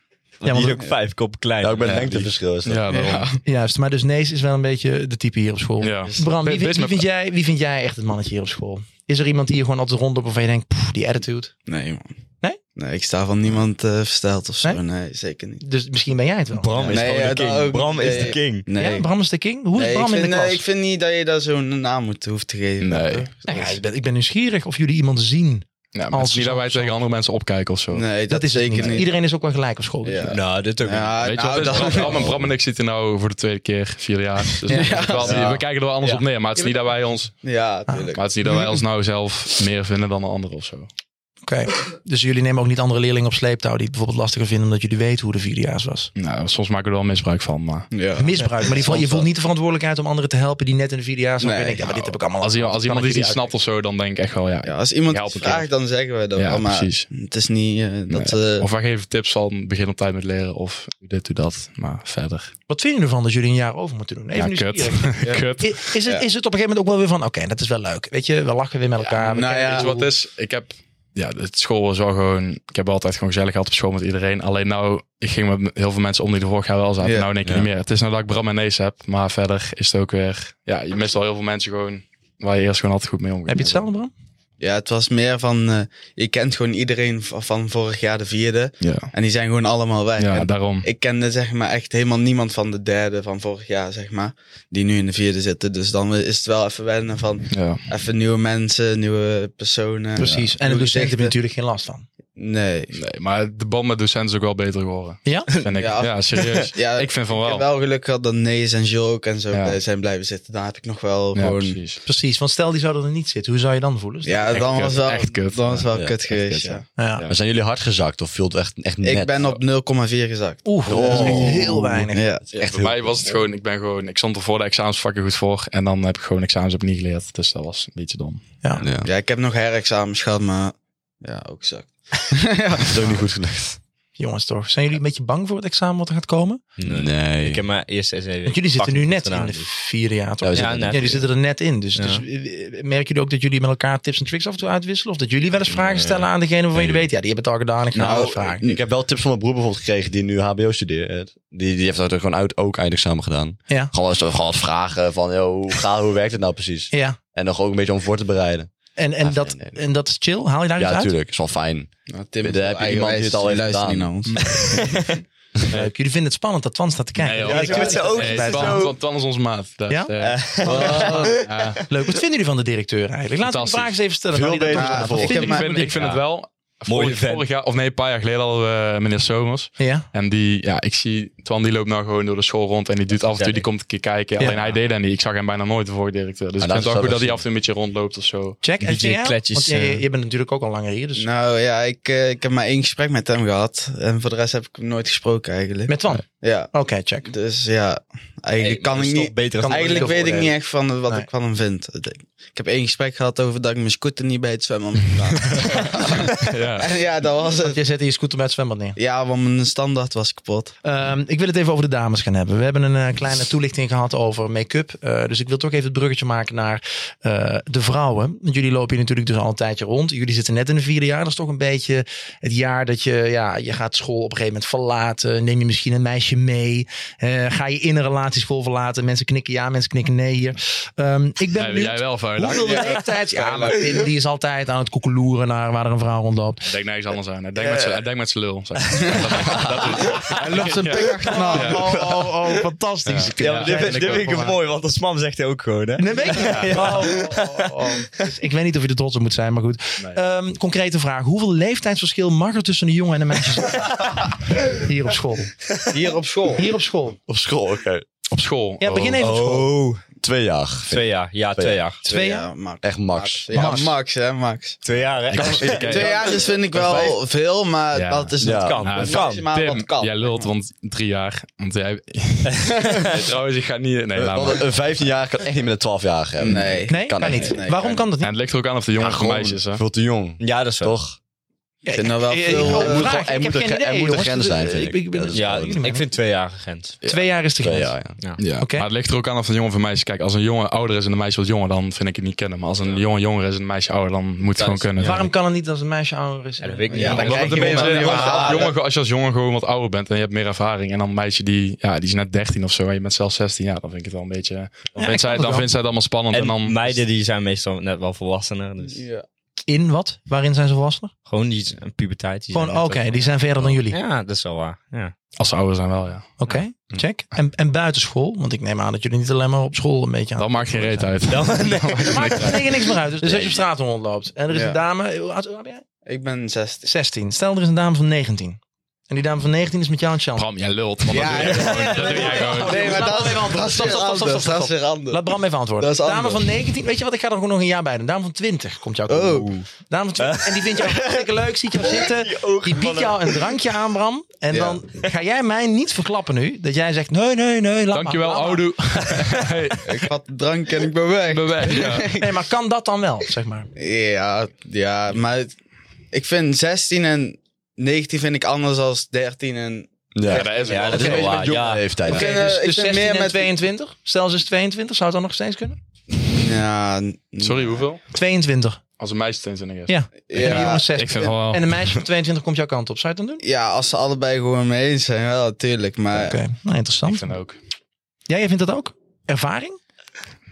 [SPEAKER 2] Die
[SPEAKER 5] want-
[SPEAKER 2] is ook vijf kop klein.
[SPEAKER 6] Nou, ik ben
[SPEAKER 2] Ja,
[SPEAKER 6] het lengteverschil. Is dat.
[SPEAKER 3] Ja, daarom.
[SPEAKER 5] Juist, maar dus Nees is wel een beetje de type hier op school.
[SPEAKER 3] Ja.
[SPEAKER 4] dus
[SPEAKER 5] Bram, wie,
[SPEAKER 3] Wees-
[SPEAKER 5] vind,
[SPEAKER 3] wees
[SPEAKER 5] wie,
[SPEAKER 3] maar-
[SPEAKER 5] vind jij, wie vind jij echt het mannetje hier op school? Is er iemand die je gewoon altijd rondloopt waarvan je denkt, poef, die attitude?
[SPEAKER 4] Nee, man.
[SPEAKER 5] Nee?
[SPEAKER 4] Nee, ik sta van niemand eh, versteld of zo.
[SPEAKER 5] Nee?
[SPEAKER 4] Nee, zeker niet.
[SPEAKER 5] Dus misschien ben jij het wel.
[SPEAKER 2] Bram is
[SPEAKER 4] Nee,
[SPEAKER 2] gewoon
[SPEAKER 4] ja,
[SPEAKER 2] de
[SPEAKER 4] dat
[SPEAKER 2] king.
[SPEAKER 4] ook.
[SPEAKER 2] Bram is de
[SPEAKER 4] Nee.
[SPEAKER 2] king.
[SPEAKER 4] Nee.
[SPEAKER 5] Ja, Bram is de king? Hoe is
[SPEAKER 4] Nee, ik
[SPEAKER 5] Bram
[SPEAKER 4] vind,
[SPEAKER 5] in de
[SPEAKER 4] nee,
[SPEAKER 5] klas?
[SPEAKER 4] ik vind niet dat je daar zo'n naam moet hoeft te geven.
[SPEAKER 3] Nee.
[SPEAKER 5] Nou ja, ik, ben, ik ben nieuwsgierig of jullie iemand zien.
[SPEAKER 3] Ja, maar het
[SPEAKER 5] Als-
[SPEAKER 3] is niet dat wij tegen andere mensen opkijken of zo.
[SPEAKER 4] Nee, dat,
[SPEAKER 5] Dat is het
[SPEAKER 4] zeker
[SPEAKER 5] niet.
[SPEAKER 4] niet.
[SPEAKER 5] Iedereen is ook wel gelijk op school. dus-
[SPEAKER 4] Ja.
[SPEAKER 2] Nou, dit ook. niet.
[SPEAKER 4] Ja,
[SPEAKER 3] Weet je
[SPEAKER 4] nou,
[SPEAKER 3] wat, het is?
[SPEAKER 4] dat-
[SPEAKER 3] Bram, en Bram en ik zitten nou voor de tweede keer, vier jaar. Dus dat is wel-
[SPEAKER 6] Ja.
[SPEAKER 3] we kijken er wel anders
[SPEAKER 2] Ja.
[SPEAKER 3] op neer. Maar het is niet dat wij ons,
[SPEAKER 4] Ja, tuurlijk.
[SPEAKER 5] Ah,
[SPEAKER 3] maar het is niet dat wij ons nou zelf meer vinden dan de anderen of zo.
[SPEAKER 5] Oké, dus jullie nemen ook niet andere leerlingen op sleeptouw die het bijvoorbeeld lastiger vinden omdat jullie weten hoe de vierdejaars was.
[SPEAKER 3] Nou, soms maken we er wel misbruik van. Maar
[SPEAKER 4] Ja.
[SPEAKER 5] Misbruik, maar die voelt, je
[SPEAKER 4] Soms
[SPEAKER 5] voelt
[SPEAKER 4] wel.
[SPEAKER 5] niet de verantwoordelijkheid om anderen te helpen die net in de vierdejaars zijn.
[SPEAKER 4] eh, Nee,
[SPEAKER 5] Nee, denkt, ja, maar dit heb ik allemaal
[SPEAKER 3] als, iemand- als
[SPEAKER 5] Kan
[SPEAKER 3] iemand
[SPEAKER 5] ik
[SPEAKER 3] iets niet
[SPEAKER 5] jullie
[SPEAKER 3] snapt of zo, dan denk ik echt wel, ja.
[SPEAKER 4] Ja, als iemand
[SPEAKER 3] Ja, op
[SPEAKER 4] iets
[SPEAKER 3] een
[SPEAKER 4] vraagt, dan zeggen we dat
[SPEAKER 3] Ja,
[SPEAKER 4] wel. Maar
[SPEAKER 3] precies.
[SPEAKER 4] het is niet eh, dat... eh,
[SPEAKER 3] Of wij geven tips van begin op tijd met leren of doe dit, doe dat. Maar verder.
[SPEAKER 5] Wat vind je ervan dat jullie een jaar over moeten doen?
[SPEAKER 3] ja,
[SPEAKER 5] Even
[SPEAKER 3] kut.
[SPEAKER 5] nieuwsgierig.
[SPEAKER 3] kut.
[SPEAKER 5] I- Is, het, is het op een gegeven moment ook wel weer van, oké, dat is wel leuk. Weet je, we lachen weer met elkaar. we
[SPEAKER 4] nou
[SPEAKER 5] kennen-
[SPEAKER 4] ja.
[SPEAKER 3] Weet je wat eh? het is? Ik heb... Ja, het school was wel gewoon... Ik heb altijd gewoon gezellig gehad op school met iedereen. Alleen nou, ik ging met heel veel mensen om die er vorig jaar wel zaten.
[SPEAKER 4] Ja.
[SPEAKER 3] Nou denk ik niet meer. Het is nou dat ik Bram en Nees heb. Maar verder is het ook weer... Ja, je mist al heel veel mensen gewoon... Waar je eerst gewoon altijd goed mee omgaat.
[SPEAKER 5] Heb je hetzelfde, Bram?
[SPEAKER 4] Ja, het was meer van... eh, je kent gewoon iedereen v- van vorig jaar de vierde.
[SPEAKER 3] Ja,
[SPEAKER 4] En die zijn gewoon allemaal weg.
[SPEAKER 3] ja
[SPEAKER 4] En
[SPEAKER 3] daarom.
[SPEAKER 4] ik kende zeg maar echt helemaal niemand van de derde van vorig jaar, zeg maar. Die nu in de vierde zitten. Dus dan is het wel even wennen van
[SPEAKER 3] Ja.
[SPEAKER 4] even nieuwe mensen, nieuwe personen.
[SPEAKER 5] Precies. En de docenten
[SPEAKER 4] Nieuwe
[SPEAKER 5] hebben
[SPEAKER 4] gezichten.
[SPEAKER 5] natuurlijk geen last van.
[SPEAKER 4] Nee.
[SPEAKER 3] Nee, maar de band met docenten is ook wel beter geworden.
[SPEAKER 5] Ja?
[SPEAKER 3] Vind ik.
[SPEAKER 4] Ja.
[SPEAKER 3] Ja, serieus.
[SPEAKER 4] Ja,
[SPEAKER 3] ik vind van
[SPEAKER 4] Ik
[SPEAKER 3] wel.
[SPEAKER 4] heb wel geluk gehad dat Nees en Jules ook en zo
[SPEAKER 3] Ja.
[SPEAKER 4] bij zijn blijven zitten. Daar heb ik nog wel
[SPEAKER 3] Ja,
[SPEAKER 4] gewoon...
[SPEAKER 3] precies.
[SPEAKER 5] Precies, want stel die zouden er niet zitten. Hoe zou je dan voelen?
[SPEAKER 4] Ja,
[SPEAKER 3] Echt
[SPEAKER 4] dan
[SPEAKER 3] kut,
[SPEAKER 4] was wel,
[SPEAKER 3] echt kut.
[SPEAKER 4] dan was wel
[SPEAKER 6] Ja,
[SPEAKER 4] kut
[SPEAKER 6] echt
[SPEAKER 4] geweest,
[SPEAKER 6] kut,
[SPEAKER 4] ja.
[SPEAKER 6] ja.
[SPEAKER 5] Ja.
[SPEAKER 6] Maar zijn jullie hard gezakt of viel het echt, echt net?
[SPEAKER 4] Ik ben op 0,4 gezakt.
[SPEAKER 5] Oeh, dat is echt heel weinig.
[SPEAKER 4] Ja.
[SPEAKER 6] Het is echt
[SPEAKER 3] Voor mij was het gewoon, ik ben gewoon, ik stond er voor de examens vakken goed voor. En dan heb ik gewoon examens opnieuw geleerd. Dus dat was een beetje dom.
[SPEAKER 5] Ja.
[SPEAKER 6] Ja.
[SPEAKER 4] ja, ik heb nog herexamens gehad, maar ja, ook zak.
[SPEAKER 6] Het is ook niet goed gelukt.
[SPEAKER 5] Jongens toch, zijn jullie een beetje bang voor het examen wat er gaat komen?
[SPEAKER 6] Nee.
[SPEAKER 2] Ik heb mijn eerste essay.
[SPEAKER 5] Want jullie zitten nu net in
[SPEAKER 2] gedaan,
[SPEAKER 5] de
[SPEAKER 2] dus.
[SPEAKER 5] vierde jaar, toch?
[SPEAKER 6] Ja, we
[SPEAKER 5] Ja,
[SPEAKER 6] zitten-
[SPEAKER 2] net.
[SPEAKER 5] jullie zitten er net in. Dus,
[SPEAKER 2] Ja.
[SPEAKER 5] dus eh, merken jullie ook dat jullie met elkaar tips en tricks af en toe uitwisselen? Of dat jullie wel eens vragen stellen aan degene waarvan jullie weten... ja, die hebben het al gedaan, ik ga
[SPEAKER 4] Nou,
[SPEAKER 5] wel vragen.
[SPEAKER 6] Ik heb wel tips van mijn broer bijvoorbeeld gekregen die nu HBO studeert. Die, die heeft dat ook gewoon uit, ook eindexamen gedaan.
[SPEAKER 5] Ja.
[SPEAKER 6] Gewoon, eens- gewoon wat vragen van, yo, hoe, ga, hoe werkt het nou precies?
[SPEAKER 5] Ja,
[SPEAKER 6] En dan gewoon ook een beetje om voor te bereiden.
[SPEAKER 5] en, en,
[SPEAKER 6] Ah,
[SPEAKER 5] dat,
[SPEAKER 6] nee, nee.
[SPEAKER 5] en dat is chill? Haal je daar iets
[SPEAKER 6] ja,
[SPEAKER 5] uit?
[SPEAKER 6] natuurlijk. Is wel fijn.
[SPEAKER 4] Nou, Tim,
[SPEAKER 6] Daar
[SPEAKER 4] is wel
[SPEAKER 6] heb je iemand die het al
[SPEAKER 4] eigenwijs,
[SPEAKER 6] heeft
[SPEAKER 4] luistert niet
[SPEAKER 6] gedaan.
[SPEAKER 4] naar ons.
[SPEAKER 5] Leuk. Jullie vinden het spannend dat Twan staat te kijken.
[SPEAKER 3] Nee,
[SPEAKER 5] Ja,
[SPEAKER 3] joh.
[SPEAKER 5] ik
[SPEAKER 2] Ja,
[SPEAKER 5] weet
[SPEAKER 2] zo
[SPEAKER 5] het.
[SPEAKER 2] ook.
[SPEAKER 5] Nee,
[SPEAKER 2] Is
[SPEAKER 5] bij
[SPEAKER 2] zo.
[SPEAKER 5] Twan.
[SPEAKER 3] Want dan is ons maat. Dat,
[SPEAKER 5] Ja?
[SPEAKER 3] eh, ja.
[SPEAKER 5] Leuk. Wat vinden jullie van de directeur eigenlijk? Laten we die
[SPEAKER 3] Fantastisch.
[SPEAKER 5] vraag eens even stellen.
[SPEAKER 6] Veel
[SPEAKER 5] Nou, die dat
[SPEAKER 6] beter
[SPEAKER 5] toch-
[SPEAKER 6] dan
[SPEAKER 5] wat
[SPEAKER 6] de
[SPEAKER 5] vinden
[SPEAKER 3] Ik
[SPEAKER 5] jullie
[SPEAKER 3] vind, ik
[SPEAKER 5] van
[SPEAKER 3] vind het wel.
[SPEAKER 2] Mooie
[SPEAKER 3] vorig,
[SPEAKER 2] vent.
[SPEAKER 3] vorig jaar, of nee, een paar jaar geleden hadden we eh, meneer Somers.
[SPEAKER 5] dit? Ja,
[SPEAKER 3] En die, ja, ik zie, Twan die loopt nou gewoon door de school rond en die doet af en toe, die komt een keer kijken.
[SPEAKER 5] Ja.
[SPEAKER 3] Alleen hij deed dat niet. Ik zag hem bijna nooit de vorige directeur. Dus
[SPEAKER 6] Ah,
[SPEAKER 3] ik vind
[SPEAKER 6] dat
[SPEAKER 3] het ook
[SPEAKER 6] zou
[SPEAKER 3] goed dat
[SPEAKER 6] wel
[SPEAKER 3] hij af en toe een beetje rondloopt of zo.
[SPEAKER 5] check. En
[SPEAKER 2] DJ
[SPEAKER 5] jij? Want
[SPEAKER 2] kletjes,
[SPEAKER 5] je,
[SPEAKER 2] eh.
[SPEAKER 5] je bent natuurlijk ook al langer hier. Dus
[SPEAKER 4] Nou ja, ik, eh, ik heb maar één gesprek met hem gehad. En voor de rest heb ik hem nooit gesproken eigenlijk.
[SPEAKER 5] met Twan.
[SPEAKER 4] Ja,
[SPEAKER 5] Oké, check.
[SPEAKER 4] dus ja, eigenlijk kan ik niet...
[SPEAKER 2] Beter
[SPEAKER 5] kan
[SPEAKER 2] als
[SPEAKER 5] ik
[SPEAKER 4] Eigenlijk
[SPEAKER 5] niet
[SPEAKER 4] weet ik
[SPEAKER 5] beoordelen.
[SPEAKER 4] niet echt van wat
[SPEAKER 5] Nee.
[SPEAKER 4] ik van hem vind. Ik heb één gesprek gehad over dat ik mijn scooter niet bij het zwemmen had gedaan.
[SPEAKER 3] ja.
[SPEAKER 4] En ja, dat was
[SPEAKER 5] Want
[SPEAKER 4] het.
[SPEAKER 5] jij zette je scooter bij het zwembad neer.
[SPEAKER 4] Ja, want mijn standaard was kapot.
[SPEAKER 5] Ehm, ik wil het even over de dames gaan hebben. We hebben een eh, kleine toelichting gehad over make-up. Eh, dus ik wil toch even het bruggetje maken naar eh, de vrouwen. Want jullie lopen hier natuurlijk dus al een tijdje rond. Jullie zitten net in het vierde jaar. Dat is toch een beetje het jaar dat je, ja, je gaat school op een gegeven moment verlaten. Neem je misschien een meisje mee. Eh, ga je in een relatieschool verlaten. Mensen knikken ja, mensen knikken nee hier. Ehm, ik ben
[SPEAKER 3] Jij,
[SPEAKER 5] benieuwd.
[SPEAKER 3] jij wel, vuil.
[SPEAKER 5] Hoeveel leeftijd? Ja, maar Pim, die is altijd aan het koekeloeren naar waar er een vrouw rondloopt.
[SPEAKER 2] man.
[SPEAKER 3] Hij denkt nergens anders aan. Hij denkt met z'n- hij denkt met zijn lul. zeg.
[SPEAKER 4] Hij loopt zijn pik achterna.
[SPEAKER 5] Oh, oh, oh, fantastisch.
[SPEAKER 2] Ja, maar dit,
[SPEAKER 3] Ja,
[SPEAKER 2] dit
[SPEAKER 3] en ik ook
[SPEAKER 2] vind ik
[SPEAKER 3] wel.
[SPEAKER 2] mooi, want als mam zegt hij ook gewoon, hè?
[SPEAKER 5] Nee, weet ik niet. Oh, oh, oh. Dus ik weet niet of je er trots op moet zijn, maar goed. Ehm, concrete vraag. Hoeveel leeftijdsverschil mag er tussen de jongen en de meisjes zijn? Hier op school.
[SPEAKER 4] Hier op school.
[SPEAKER 5] Hier op school.
[SPEAKER 6] Op school, oké.
[SPEAKER 3] Op school. Oh,
[SPEAKER 5] Ja, begin even op school.
[SPEAKER 6] Oh. Twee jaar. vind ik.
[SPEAKER 2] Twee jaar. Ja, twee jaar.
[SPEAKER 5] Twee jaar?
[SPEAKER 4] Ja, Max.
[SPEAKER 6] Echt max.
[SPEAKER 4] Ja,
[SPEAKER 5] Max.
[SPEAKER 4] Max. hè, Max.
[SPEAKER 2] Twee jaar, hè?
[SPEAKER 4] Twee jaar is vind ik wel veel, maar
[SPEAKER 3] Ja.
[SPEAKER 4] dat is het
[SPEAKER 6] Ja.
[SPEAKER 4] kan.
[SPEAKER 3] Nou,
[SPEAKER 4] Het
[SPEAKER 3] Tim,
[SPEAKER 4] maximaal wat kan.
[SPEAKER 3] Jij lult, want drie jaar. Want jij... Nee, trouwens, ik ga niet... Nee, laat maar.
[SPEAKER 6] Eh, Want een 15 jaar kan echt niet met een 12-jarige hebben.
[SPEAKER 4] Nee.
[SPEAKER 5] Nee, kan,
[SPEAKER 6] Kan echt
[SPEAKER 5] niet.
[SPEAKER 4] niet. Nee,
[SPEAKER 5] Waarom
[SPEAKER 4] kan
[SPEAKER 5] kan dat
[SPEAKER 3] En
[SPEAKER 5] niet?
[SPEAKER 3] het ligt er ook aan of de
[SPEAKER 6] Ja,
[SPEAKER 3] jongens of de
[SPEAKER 6] gewoon
[SPEAKER 3] meisjes, hè?
[SPEAKER 6] Veel te jong.
[SPEAKER 2] Ja, dat is wel.
[SPEAKER 6] Toch?
[SPEAKER 4] Ik vind dat wel
[SPEAKER 5] Ik-
[SPEAKER 4] veel.
[SPEAKER 5] ik-
[SPEAKER 4] eh,
[SPEAKER 6] moet
[SPEAKER 5] vraag,
[SPEAKER 6] gewoon- er
[SPEAKER 5] ik
[SPEAKER 6] moet
[SPEAKER 5] heb
[SPEAKER 6] een
[SPEAKER 5] geen
[SPEAKER 6] gre- er
[SPEAKER 5] idee,
[SPEAKER 6] moet een
[SPEAKER 5] jongens.
[SPEAKER 6] grens zijn, vind ik.
[SPEAKER 5] ben-
[SPEAKER 6] Dat is
[SPEAKER 2] Ja,
[SPEAKER 5] jullie
[SPEAKER 2] ik
[SPEAKER 5] mening.
[SPEAKER 2] vind twee jaar grens.
[SPEAKER 5] Twee jaar is de grens.
[SPEAKER 6] Twee jaar, ja.
[SPEAKER 3] Ja.
[SPEAKER 5] Oké.
[SPEAKER 3] Maar het ligt er ook aan of een jongen of een meisje... Kijk, als een jongen ouder is en een meisje wat jonger, dan vind ik het niet kennen. Maar als een jongen jonger is en een meisje ouder, dan moet het
[SPEAKER 2] Dat
[SPEAKER 3] gewoon
[SPEAKER 2] is-
[SPEAKER 3] kunnen.
[SPEAKER 5] Waarom kan het niet als een meisje ouder is?
[SPEAKER 2] Ja, dat weet ik niet.
[SPEAKER 4] Ja,
[SPEAKER 2] Ja,
[SPEAKER 4] dan
[SPEAKER 3] Omdat
[SPEAKER 4] krijg
[SPEAKER 3] het een
[SPEAKER 4] je
[SPEAKER 3] beetje-
[SPEAKER 4] gewoon
[SPEAKER 3] als, je als
[SPEAKER 4] een-
[SPEAKER 3] jongen, als je als jongen gewoon wat ouder bent en je hebt meer ervaring. En dan een meisje die, ja, die is net 13 of zo en je bent zelf 16 jaar. Dan vind ik het wel een beetje... Dan,
[SPEAKER 5] ik
[SPEAKER 3] vindt, zij,
[SPEAKER 5] kan het wel.
[SPEAKER 3] dan vindt zij het allemaal spannend. En,
[SPEAKER 2] En
[SPEAKER 3] dan,
[SPEAKER 2] meiden die zijn meestal net wel volwassener. Dus
[SPEAKER 4] eh, Ja.
[SPEAKER 5] In wat? Waarin zijn ze volwassener?
[SPEAKER 2] gewoon die z- puberteit. die
[SPEAKER 5] Gewoon,
[SPEAKER 2] zijn
[SPEAKER 5] oké,
[SPEAKER 2] net ook-
[SPEAKER 5] die zijn verder dan jullie.
[SPEAKER 2] Ja, dat is wel waar. Ja.
[SPEAKER 3] Als ze ouder zijn wel, ja.
[SPEAKER 5] Oké, check. En, en buitenschool? Want ik neem aan dat jullie niet alleen maar op school een beetje aan.
[SPEAKER 3] Dat maakt geen reet uit.
[SPEAKER 5] Dat maakt er tegen niks meer uit. Dus, dus als je op straat rondloopt en er is
[SPEAKER 4] Ja.
[SPEAKER 5] een dame, eh, hoe oud hoe oud ben jij?
[SPEAKER 4] Ik ben 16.
[SPEAKER 5] 16. Stel, er is een dame van 19. En die dame van 19 is met jou aan het chanten.
[SPEAKER 3] Bram, jij lult. Want dat
[SPEAKER 4] Ja,
[SPEAKER 3] doe jij
[SPEAKER 4] ja,
[SPEAKER 3] gewoon.
[SPEAKER 5] ja,
[SPEAKER 3] Dat doe jij
[SPEAKER 5] ja.
[SPEAKER 3] gewoon.
[SPEAKER 4] Nee, maar
[SPEAKER 5] Laat
[SPEAKER 4] dat,
[SPEAKER 5] me even antwoorden.
[SPEAKER 4] dat is
[SPEAKER 5] Stop,
[SPEAKER 4] weer
[SPEAKER 5] stop, stop, stop,
[SPEAKER 4] anders.
[SPEAKER 5] stop,
[SPEAKER 4] Dat is weer anders.
[SPEAKER 5] Laat Bram even antwoorden.
[SPEAKER 4] Dat is
[SPEAKER 5] dame
[SPEAKER 4] anders.
[SPEAKER 5] van 19, weet je wat, ik ga er gewoon nog een jaar bij doen. Dame van 20 komt jou komen.
[SPEAKER 4] Oh.
[SPEAKER 5] Dame van 20, en die vindt jou hartstikke leuk, ziet jou zitten. Die biedt jou een drankje aan, Bram. En
[SPEAKER 4] Ja.
[SPEAKER 5] dan ga jij mij niet verklappen nu, dat jij zegt, nee, nee, nee, laat
[SPEAKER 3] Dankjewel,
[SPEAKER 5] maar, laat maar.
[SPEAKER 3] oudoe.
[SPEAKER 4] Ik had drank en ik ben weg.
[SPEAKER 3] Ben weg, ja.
[SPEAKER 5] Nee, maar kan dat dan wel, zeg maar?
[SPEAKER 4] Ja, ja, maar het- ik vind 16 en 19 vind ik anders dan 13 en...
[SPEAKER 6] Ja,
[SPEAKER 3] dat is
[SPEAKER 2] Ja,
[SPEAKER 3] wel.
[SPEAKER 2] dat is wel
[SPEAKER 6] een
[SPEAKER 2] waar.
[SPEAKER 6] jonge
[SPEAKER 2] Ja.
[SPEAKER 6] leeftijd.
[SPEAKER 4] Oké.
[SPEAKER 5] Oké,
[SPEAKER 4] eh,
[SPEAKER 5] dus,
[SPEAKER 4] ik
[SPEAKER 5] dus
[SPEAKER 4] ben
[SPEAKER 5] 16
[SPEAKER 4] meer
[SPEAKER 5] en
[SPEAKER 4] met-
[SPEAKER 5] 22? Stel ze is 22, zou het dan nog steeds kunnen?
[SPEAKER 4] Ja, n-
[SPEAKER 3] Sorry, hoeveel?
[SPEAKER 5] 22,
[SPEAKER 3] Als een meisje 22 is.
[SPEAKER 5] ja. En die
[SPEAKER 4] Ja,
[SPEAKER 5] jongen 16.
[SPEAKER 3] Ik vind het wel...
[SPEAKER 5] En een meisje van 22 komt jouw kant op. Zou je het dan doen?
[SPEAKER 4] ja, als ze allebei gewoon mee eens zijn, wel natuurlijk. Maar,
[SPEAKER 5] Oké, nou
[SPEAKER 3] Ik
[SPEAKER 5] interessant.
[SPEAKER 3] vind ook.
[SPEAKER 5] Ja, jij vindt dat ook? Ervaring?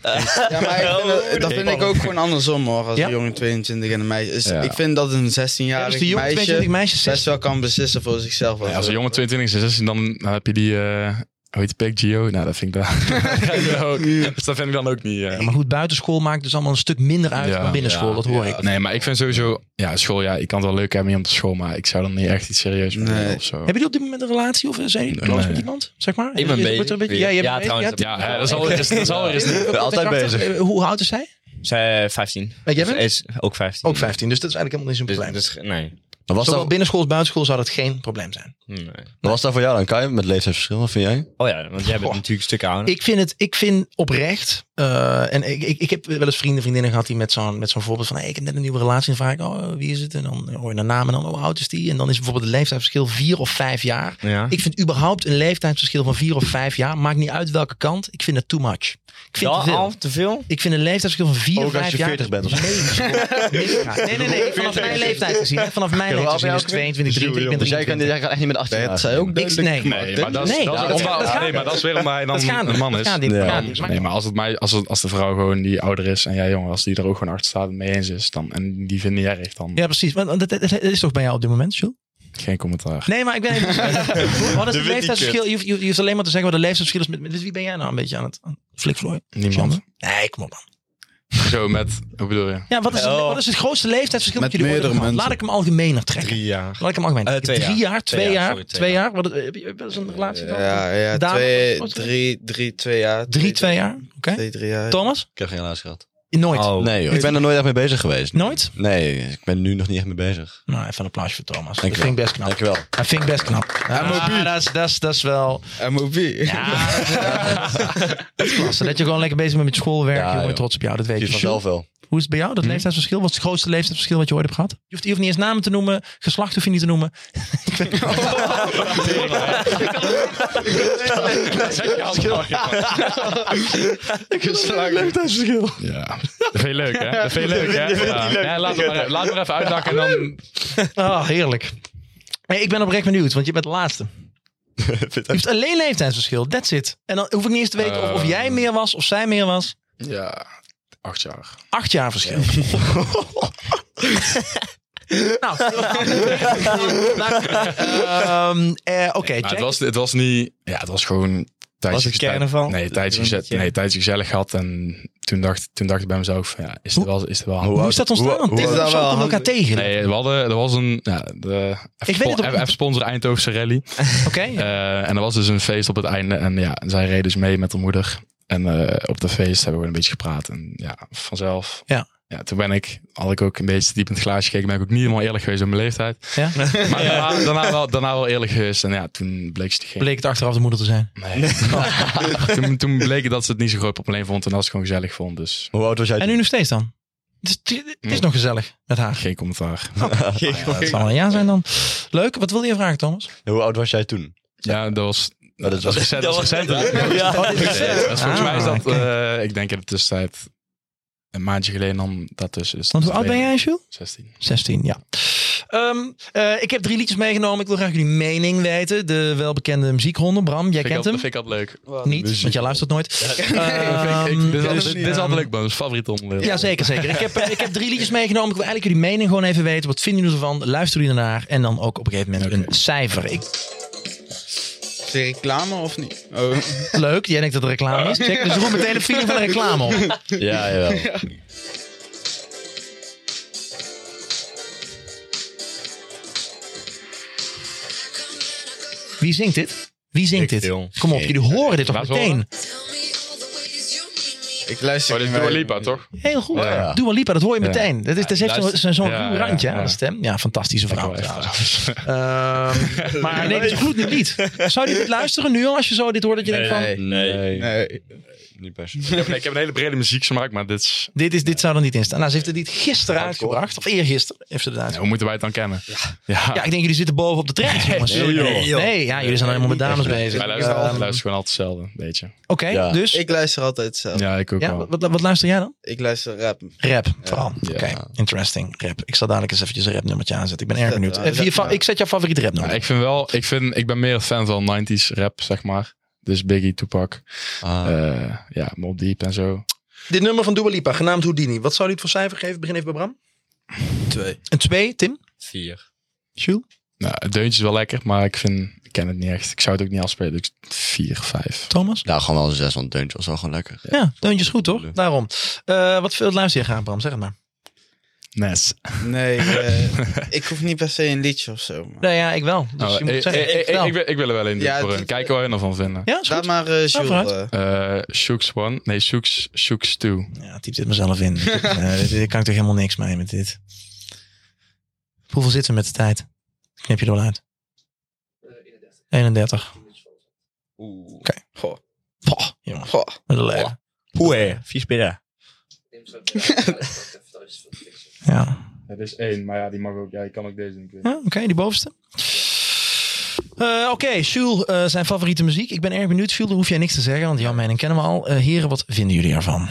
[SPEAKER 4] ja, maar ik vind het- dat vind ik ook gewoon andersom hoor. Als
[SPEAKER 5] Ja?
[SPEAKER 4] een jongen 22 en een meisje. is.
[SPEAKER 6] Ja.
[SPEAKER 4] Ik vind dat een
[SPEAKER 5] Ja, dus
[SPEAKER 4] 16-jarig
[SPEAKER 5] die jongen
[SPEAKER 4] meisje
[SPEAKER 5] 22 meisjes
[SPEAKER 4] best wel kan beslissen voor zichzelf.
[SPEAKER 3] Ja, als een jongen 22 is, dan, dan heb je die... eh hoe heet die pik? Gio? Nou, dat vind ik dan... dat vind ik dan ook. Dus dat vind ik dan ook niet... eh,
[SPEAKER 5] Ja, maar goed, buitenschool maakt dus allemaal een stuk minder uit
[SPEAKER 3] Ja.
[SPEAKER 5] dan binnenschool. dat hoor ik.
[SPEAKER 3] Nee, maar ik vind sowieso... Ja, school, ja, ik kan het wel leuk hebben om op de school, maar ik zou dan niet echt iets serieus mee doen
[SPEAKER 4] Nee.
[SPEAKER 3] of zo.
[SPEAKER 5] Hebben jullie op dit moment een relatie of zijn jullie close
[SPEAKER 3] Nee.
[SPEAKER 5] met iemand? Zeg maar?
[SPEAKER 2] Ik ben
[SPEAKER 5] Is-
[SPEAKER 2] bezig
[SPEAKER 5] wordt er een beetje-
[SPEAKER 2] weer.
[SPEAKER 5] Ja, je
[SPEAKER 2] Ja,
[SPEAKER 5] bent-
[SPEAKER 2] trouwens,
[SPEAKER 5] ja,
[SPEAKER 3] Ja, hè, dat is al eerst... Dat is al eerst
[SPEAKER 5] ja,
[SPEAKER 6] Altijd
[SPEAKER 5] contracten.
[SPEAKER 6] bezig.
[SPEAKER 5] Eh, Hoe oud is zij?
[SPEAKER 2] Zij eh, 15.
[SPEAKER 5] En jij bent?
[SPEAKER 2] Is ook 15.
[SPEAKER 5] Ook 15, dus dat is eigenlijk helemaal niet zo'n
[SPEAKER 2] Dus,
[SPEAKER 5] probleem.
[SPEAKER 2] dus nee.
[SPEAKER 6] Maar was,
[SPEAKER 5] Zowel
[SPEAKER 6] dat,
[SPEAKER 5] binnenschool als buitenschool zou dat geen probleem zijn.
[SPEAKER 2] nee.
[SPEAKER 6] maar was dat voor jou dan? Kan je met leeftijdsverschil, wat vind jij?
[SPEAKER 2] Oh ja, want jij bent
[SPEAKER 5] Goh.
[SPEAKER 2] natuurlijk een stuk ouder.
[SPEAKER 5] Ik vind het, ik vind oprecht, eh, en ik, ik, ik heb wel eens vrienden, vriendinnen gehad die met zo'n met zo'n voorbeeld van, hey, ik heb net een nieuwe relatie, en dan vraag ik, oh, wie is het? En dan hoor je de naam en dan, oh, hoe oud is die? En dan is bijvoorbeeld het leeftijdsverschil vier of vijf jaar.
[SPEAKER 2] Ja.
[SPEAKER 5] Ik vind überhaupt een leeftijdsverschil van vier of vijf jaar, maakt niet uit welke kant, ik vind het too much. Ik vind
[SPEAKER 2] Ja,
[SPEAKER 5] het te veel.
[SPEAKER 2] al te veel?
[SPEAKER 5] Ik vind een leeftijdsverschil van vier of
[SPEAKER 6] Ook als
[SPEAKER 5] vijf
[SPEAKER 6] je
[SPEAKER 5] jaar.
[SPEAKER 6] 40 bent of zo.
[SPEAKER 5] Nee, nee, nee, nee, vanaf mijn leeftijd gezien. hè. Vanaf mijn leeftijd gezien is het 22, 23, ik ben
[SPEAKER 6] Dus jij kan,
[SPEAKER 5] 23.
[SPEAKER 6] jij kan echt niet met 18 jaar.
[SPEAKER 4] Dat zei ook
[SPEAKER 5] Ik- nee.
[SPEAKER 4] duidelijk.
[SPEAKER 3] Nee, maar dat is,
[SPEAKER 5] Nee,
[SPEAKER 3] dat is
[SPEAKER 5] dat-
[SPEAKER 3] omdat-
[SPEAKER 5] dat gaat
[SPEAKER 3] nee, maar dat is weer omdat hij dan
[SPEAKER 5] Dat gaat
[SPEAKER 3] een
[SPEAKER 5] niet.
[SPEAKER 3] man
[SPEAKER 5] Dat
[SPEAKER 3] is.
[SPEAKER 5] gaat niet.
[SPEAKER 6] Ja.
[SPEAKER 5] Dat gaat
[SPEAKER 3] Dan-
[SPEAKER 5] niet. Maar-
[SPEAKER 3] nee, maar als, het mij, als, het, als de vrouw gewoon die ouder is en jij jongen, als die er ook gewoon achter staat en mee eens is, dan, en die vindt niet erg, dan
[SPEAKER 5] Ja, precies. Want dat, dat- dat is toch bij jou op dit moment, Jules?
[SPEAKER 3] geen commentaar.
[SPEAKER 5] Nee, maar ik ben even... Wat is het leeftijdsverschil? Je hoeft, je hoeft- je hoeft alleen maar te zeggen wat het leeftijdsverschil is. Met, met- dus wie ben jij nou een beetje aan het... aan- Flik Floyd?
[SPEAKER 3] Niemand.
[SPEAKER 5] Sander? Nee, kom op man.
[SPEAKER 3] Zo met, hoe bedoel je?
[SPEAKER 5] Ja, wat is, het, wat is het grootste leeftijdsverschil
[SPEAKER 4] Met
[SPEAKER 5] dat jullie ooit
[SPEAKER 4] meerdere
[SPEAKER 5] hebben gehad? Laat ik hem algemener trekken.
[SPEAKER 2] Drie jaar.
[SPEAKER 5] Laat ik hem algemeen.
[SPEAKER 2] Eh, twee
[SPEAKER 5] drie
[SPEAKER 2] jaar.
[SPEAKER 5] jaar, twee
[SPEAKER 2] Twee jaar,
[SPEAKER 5] jaar,
[SPEAKER 2] sorry,
[SPEAKER 5] twee jaar. Wat, eh, heb je wel eens een relatie gehad?
[SPEAKER 4] Ja, ja
[SPEAKER 5] Dame,
[SPEAKER 4] twee,
[SPEAKER 5] wat- wat-
[SPEAKER 4] drie, drie, twee jaar.
[SPEAKER 5] Drie, twee jaar. Oké.
[SPEAKER 4] Twee, drie jaar.
[SPEAKER 5] Thomas?
[SPEAKER 6] Ik heb geen relatie gehad.
[SPEAKER 5] Nooit.
[SPEAKER 2] Oh.
[SPEAKER 6] Nee, joh. ik ben er nooit echt mee bezig geweest.
[SPEAKER 5] Nooit?
[SPEAKER 6] Nee, ik ben nu nog niet echt mee bezig.
[SPEAKER 5] Nou, even een applausje voor Thomas.
[SPEAKER 6] Dank
[SPEAKER 5] dat
[SPEAKER 6] je
[SPEAKER 5] vind ik best knap.
[SPEAKER 6] Dankjewel.
[SPEAKER 5] Dat vind ik best knap. Ah, dat, is, dat, is, dat is wel...
[SPEAKER 4] MOB.
[SPEAKER 5] Ja, dat, is- dat is klasse. Dat je gewoon lekker bezig bent met schoolwerk.
[SPEAKER 6] Ja,
[SPEAKER 5] jongen,
[SPEAKER 6] joh.
[SPEAKER 5] trots op jou. Dat weet
[SPEAKER 6] Ik
[SPEAKER 5] je.
[SPEAKER 6] zie vanzelf wel.
[SPEAKER 5] Hoe is het bij jou, dat leeftijdsverschil? Wat is het grootste leeftijdsverschil wat je ooit hebt gehad? Je hoeft, je hoeft niet eens namen te noemen, geslacht hoef je niet te noemen.
[SPEAKER 3] Ja. Dat vind je leuk, hè? Dat vind je leuk, hè? Ja. Ja, laat, het maar, laat het maar even uitdakken en dan...
[SPEAKER 5] Ah, heerlijk. Hey, ik ben oprecht benieuwd, want je bent de laatste. Je hoeft alleen leeftijdsverschil, that's it. En dan hoef ik niet eens te weten of, of jij meer was of zij meer was.
[SPEAKER 3] Ja, acht jaar.
[SPEAKER 5] Acht jaar verschil. Nou, Ehm, eh, oké,
[SPEAKER 3] Maar
[SPEAKER 5] check.
[SPEAKER 3] Nou, het, was, het was niet... Ja, het was gewoon... Tijdens
[SPEAKER 2] Was het carnaval?
[SPEAKER 3] Nee, tijdens
[SPEAKER 2] Dat is een
[SPEAKER 3] gezet,
[SPEAKER 2] beetje-
[SPEAKER 3] nee, tijdens gezellig gehad. En toen dacht, toen dacht ik bij mezelf, van, ja, is het wel... Is het wel
[SPEAKER 5] Hoe is dat ontstaan? Want
[SPEAKER 4] hoe-
[SPEAKER 5] Zo
[SPEAKER 4] is dat wel
[SPEAKER 5] komen we elkaar tegen.
[SPEAKER 3] Nee, we hadden, er was een... Ja, de,
[SPEAKER 5] Ik weet het ook niet.
[SPEAKER 3] F-sponsor Eindhovense rally.
[SPEAKER 5] Oké.
[SPEAKER 3] Eh, en er was dus een feest op het einde. En ja, zij reed dus mee met haar moeder. En eh, op dat feest hebben we een beetje gepraat. En ja, vanzelf.
[SPEAKER 5] Ja.
[SPEAKER 3] Ja, toen ben ik, had ik ook een beetje diep in het glaasje gekeken. Ben ik ook niet helemaal eerlijk geweest in mijn leeftijd.
[SPEAKER 5] Ja.
[SPEAKER 3] Maar daarna, daarna wel, daarna wel eerlijk geweest. En ja, toen bleek ze het geen...
[SPEAKER 5] Bleek het achteraf de moeder te zijn.
[SPEAKER 3] Nee. toen, toen bleek het dat ze het niet zo groot probleem vond. En dat ze het gewoon gezellig vond. Dus
[SPEAKER 6] Hoe oud was jij
[SPEAKER 5] En nu nog steeds dan? Het is, het is nog gezellig met haar.
[SPEAKER 3] geen commentaar.
[SPEAKER 5] Het zal wel een ja zijn dan. Leuk. Wat wilde je vragen, Thomas?
[SPEAKER 6] toen? Hoe oud was jij toen?
[SPEAKER 3] Ja, dat was...
[SPEAKER 6] Ja, dat was-
[SPEAKER 3] recent. Dat was recent.
[SPEAKER 6] Ja.
[SPEAKER 3] Ja, dus volgens
[SPEAKER 5] Ah,
[SPEAKER 3] mij is dat,
[SPEAKER 5] oké.
[SPEAKER 3] eh, ik denk in de tussentijd, een maandje geleden dan dat tussen. Dus
[SPEAKER 5] Want
[SPEAKER 3] dat
[SPEAKER 5] hoe oud
[SPEAKER 3] is
[SPEAKER 5] ben jij, Jules?
[SPEAKER 3] 16.
[SPEAKER 5] 16, ja. Ehm, eh, ik heb drie liedjes meegenomen. Ik wil graag jullie mening weten. De welbekende muziekronde. Bram, jij
[SPEAKER 3] Vind ik
[SPEAKER 5] kent
[SPEAKER 3] al-
[SPEAKER 5] hem?
[SPEAKER 3] Vind ik altijd leuk.
[SPEAKER 5] Niet,
[SPEAKER 6] muziek.
[SPEAKER 5] want jij luistert nooit.
[SPEAKER 3] Ja, vind ik-
[SPEAKER 5] Ehm,
[SPEAKER 3] dit is altijd-
[SPEAKER 5] dus-
[SPEAKER 3] dit is altijd leuk, man. Dat is favoriet onderdeel. Oh,
[SPEAKER 5] Ja, zeker, zeker. Ik heb, eh, ik heb drie liedjes meegenomen. Ik wil eigenlijk jullie mening gewoon even weten. Wat vinden jullie ervan? Luisteren jullie ernaar? En dan ook op een gegeven moment een cijfer. Ik,
[SPEAKER 4] Is er reclame of niet? Oh.
[SPEAKER 5] leuk, jij denkt dat er reclame is. Check, dus roep meteen een feeling van de reclame op.
[SPEAKER 6] Ja, jawel.
[SPEAKER 5] Wie zingt dit? Wie zingt dit?
[SPEAKER 2] jong.
[SPEAKER 5] Kom op, jullie horen dit toch
[SPEAKER 3] Laat
[SPEAKER 5] meteen?
[SPEAKER 3] horen.
[SPEAKER 4] Ik luister
[SPEAKER 3] Oh, dit is
[SPEAKER 4] niet
[SPEAKER 3] Dua
[SPEAKER 4] mee.
[SPEAKER 3] Lipa, toch?
[SPEAKER 5] Heel goed.
[SPEAKER 6] Ja, ja.
[SPEAKER 5] Doe maar Lipa, dat hoor je meteen. Dat is, dat heeft zo'n
[SPEAKER 2] luister-
[SPEAKER 5] zo'n zo'n
[SPEAKER 3] Ja,
[SPEAKER 5] ruw
[SPEAKER 3] ja,
[SPEAKER 5] randje aan
[SPEAKER 3] ja.
[SPEAKER 5] de stem. Ja, fantastische
[SPEAKER 3] Oh,
[SPEAKER 5] vrouw. trouwens.
[SPEAKER 3] Ja,
[SPEAKER 5] Ehm, maar nee, dit is goed niet. Zou je dit luisteren nu al als je zo dit hoort? Dat je denkt van,
[SPEAKER 4] Nee.
[SPEAKER 6] Nee.
[SPEAKER 4] Nee.
[SPEAKER 6] Niet per se.
[SPEAKER 3] nee, ik heb een hele brede muziek gemaakt, maar dit is...
[SPEAKER 5] dit, is, dit zou er niet in staan. Nou, ze heeft het niet gisteren uitgebracht. Of eergisteren heeft ze het
[SPEAKER 3] Ja,
[SPEAKER 5] uitgebracht.
[SPEAKER 3] hoe moeten wij het dan kennen? Ja.
[SPEAKER 5] Ja, ik denk jullie zitten boven op de trend, jongens.
[SPEAKER 6] Nee, joh.
[SPEAKER 5] Nee, nee, ja, jullie zijn helemaal met dames bezig.
[SPEAKER 3] Wij luisteren, altijd-
[SPEAKER 5] Ehm,
[SPEAKER 3] luisteren gewoon altijd hetzelfde, een beetje.
[SPEAKER 5] Oké,
[SPEAKER 6] Ja.
[SPEAKER 5] dus...
[SPEAKER 4] Ik luister altijd hetzelfde.
[SPEAKER 3] Ja, ik ook
[SPEAKER 5] Ja,
[SPEAKER 3] wel.
[SPEAKER 5] wat, wat- wat luister jij dan?
[SPEAKER 4] Ik luister rap.
[SPEAKER 5] Rap, vooral.
[SPEAKER 3] Ja.
[SPEAKER 5] Oké, interesting. Rap. Ik zal dadelijk eens eventjes een rapnummertje aanzetten. Ik ben erg
[SPEAKER 4] Zet,
[SPEAKER 5] benieuwd.
[SPEAKER 4] eh,
[SPEAKER 5] Even
[SPEAKER 4] zet
[SPEAKER 5] je fa-
[SPEAKER 4] maar.
[SPEAKER 5] ik zet jouw favoriete
[SPEAKER 3] Ja,
[SPEAKER 5] rapnummer.
[SPEAKER 3] ik vind wel... Ik, vind, ik ben meer fan van 90s rap, zeg maar. Dus Biggie, Tupac,
[SPEAKER 6] Ah.
[SPEAKER 3] eh, ja, Mobb Deep en zo.
[SPEAKER 5] Dit nummer van Dua Lipa, genaamd Houdini. Wat zou u het voor cijfer geven? Begin even bij Bram.
[SPEAKER 4] Twee.
[SPEAKER 5] Een 2, Tim?
[SPEAKER 2] Vier.
[SPEAKER 5] Jules?
[SPEAKER 3] Nou, het deuntje is wel lekker, maar ik vind... Ik ken het niet echt. Ik zou het ook niet afspelen. Dus 4, 5.
[SPEAKER 5] Thomas?
[SPEAKER 6] Nou, gewoon wel een zes, want Deuntje was wel gewoon lekker.
[SPEAKER 5] Ja, deuntjes goed toch? Daarom. Eh, wat veel luister je graag, Bram? Zeg het maar.
[SPEAKER 3] Nes.
[SPEAKER 4] Nee, eh, ik hoef niet per se een liedje of zo. maar-
[SPEAKER 5] Nou ja, ik wel. Dus
[SPEAKER 3] Oh,
[SPEAKER 5] je moet
[SPEAKER 3] ik,
[SPEAKER 5] zeggen,
[SPEAKER 3] ik-
[SPEAKER 5] ik
[SPEAKER 3] ik-
[SPEAKER 5] wel.
[SPEAKER 3] ik wil- ik wil er wel in doen
[SPEAKER 4] Ja,
[SPEAKER 3] voor
[SPEAKER 4] het-
[SPEAKER 3] hun. Kijken wat hun ervan vinden.
[SPEAKER 5] Ja, is
[SPEAKER 4] Laat
[SPEAKER 5] goed.
[SPEAKER 4] maar eh Jules.
[SPEAKER 5] vooruit.
[SPEAKER 4] eh,
[SPEAKER 3] Eh Shooks 1. Nee, Shooks, Shooks 2.
[SPEAKER 5] Ja, typ dit mezelf in. Dit- eh, dit- Hier kan ik toch helemaal niks mee met dit. Hoeveel zitten we met de tijd? Knip je er wel uit. 31.
[SPEAKER 4] goh,
[SPEAKER 5] Poh, jongens.
[SPEAKER 4] goh.
[SPEAKER 5] Wat een leven.
[SPEAKER 2] Hoe? Vier spelen.
[SPEAKER 5] Ja.
[SPEAKER 3] Het is 1, maar ja, die mag ook. Ja, je kan ook deze niet
[SPEAKER 5] Ja, Oké, die bovenste. Eh, Oké, Jules, eh, zijn favoriete muziek. Ik ben erg benieuwd. Jules, daar hoef jij niks te zeggen, want jouw mening kennen we al. Eh, heren, wat vinden jullie ervan?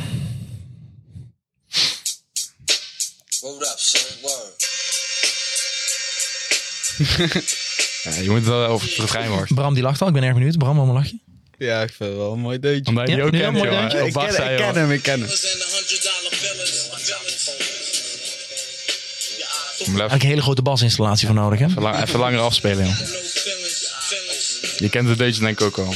[SPEAKER 3] je moet het wel over de trein wachten.
[SPEAKER 5] Bram, die lacht al. Ik ben erg benieuwd. Bram, waarom lach je?
[SPEAKER 4] Ja, ik vind het wel een mooi deuntje.
[SPEAKER 3] Omdat je die
[SPEAKER 5] Ja,
[SPEAKER 3] ook
[SPEAKER 5] nu
[SPEAKER 3] kent,
[SPEAKER 5] helemaal
[SPEAKER 3] jongen.
[SPEAKER 5] denk je-
[SPEAKER 3] Op
[SPEAKER 4] ik,
[SPEAKER 3] Bart
[SPEAKER 4] ken,
[SPEAKER 3] zei,
[SPEAKER 4] ik ken
[SPEAKER 3] jongen.
[SPEAKER 4] hem, ik ken hem.
[SPEAKER 3] Om even,
[SPEAKER 5] Eigenlijk een hele grote basinstallatie voor nodig, hè?
[SPEAKER 3] even lang- even langer afspelen, joh. Je kent het deze denk ik ook al.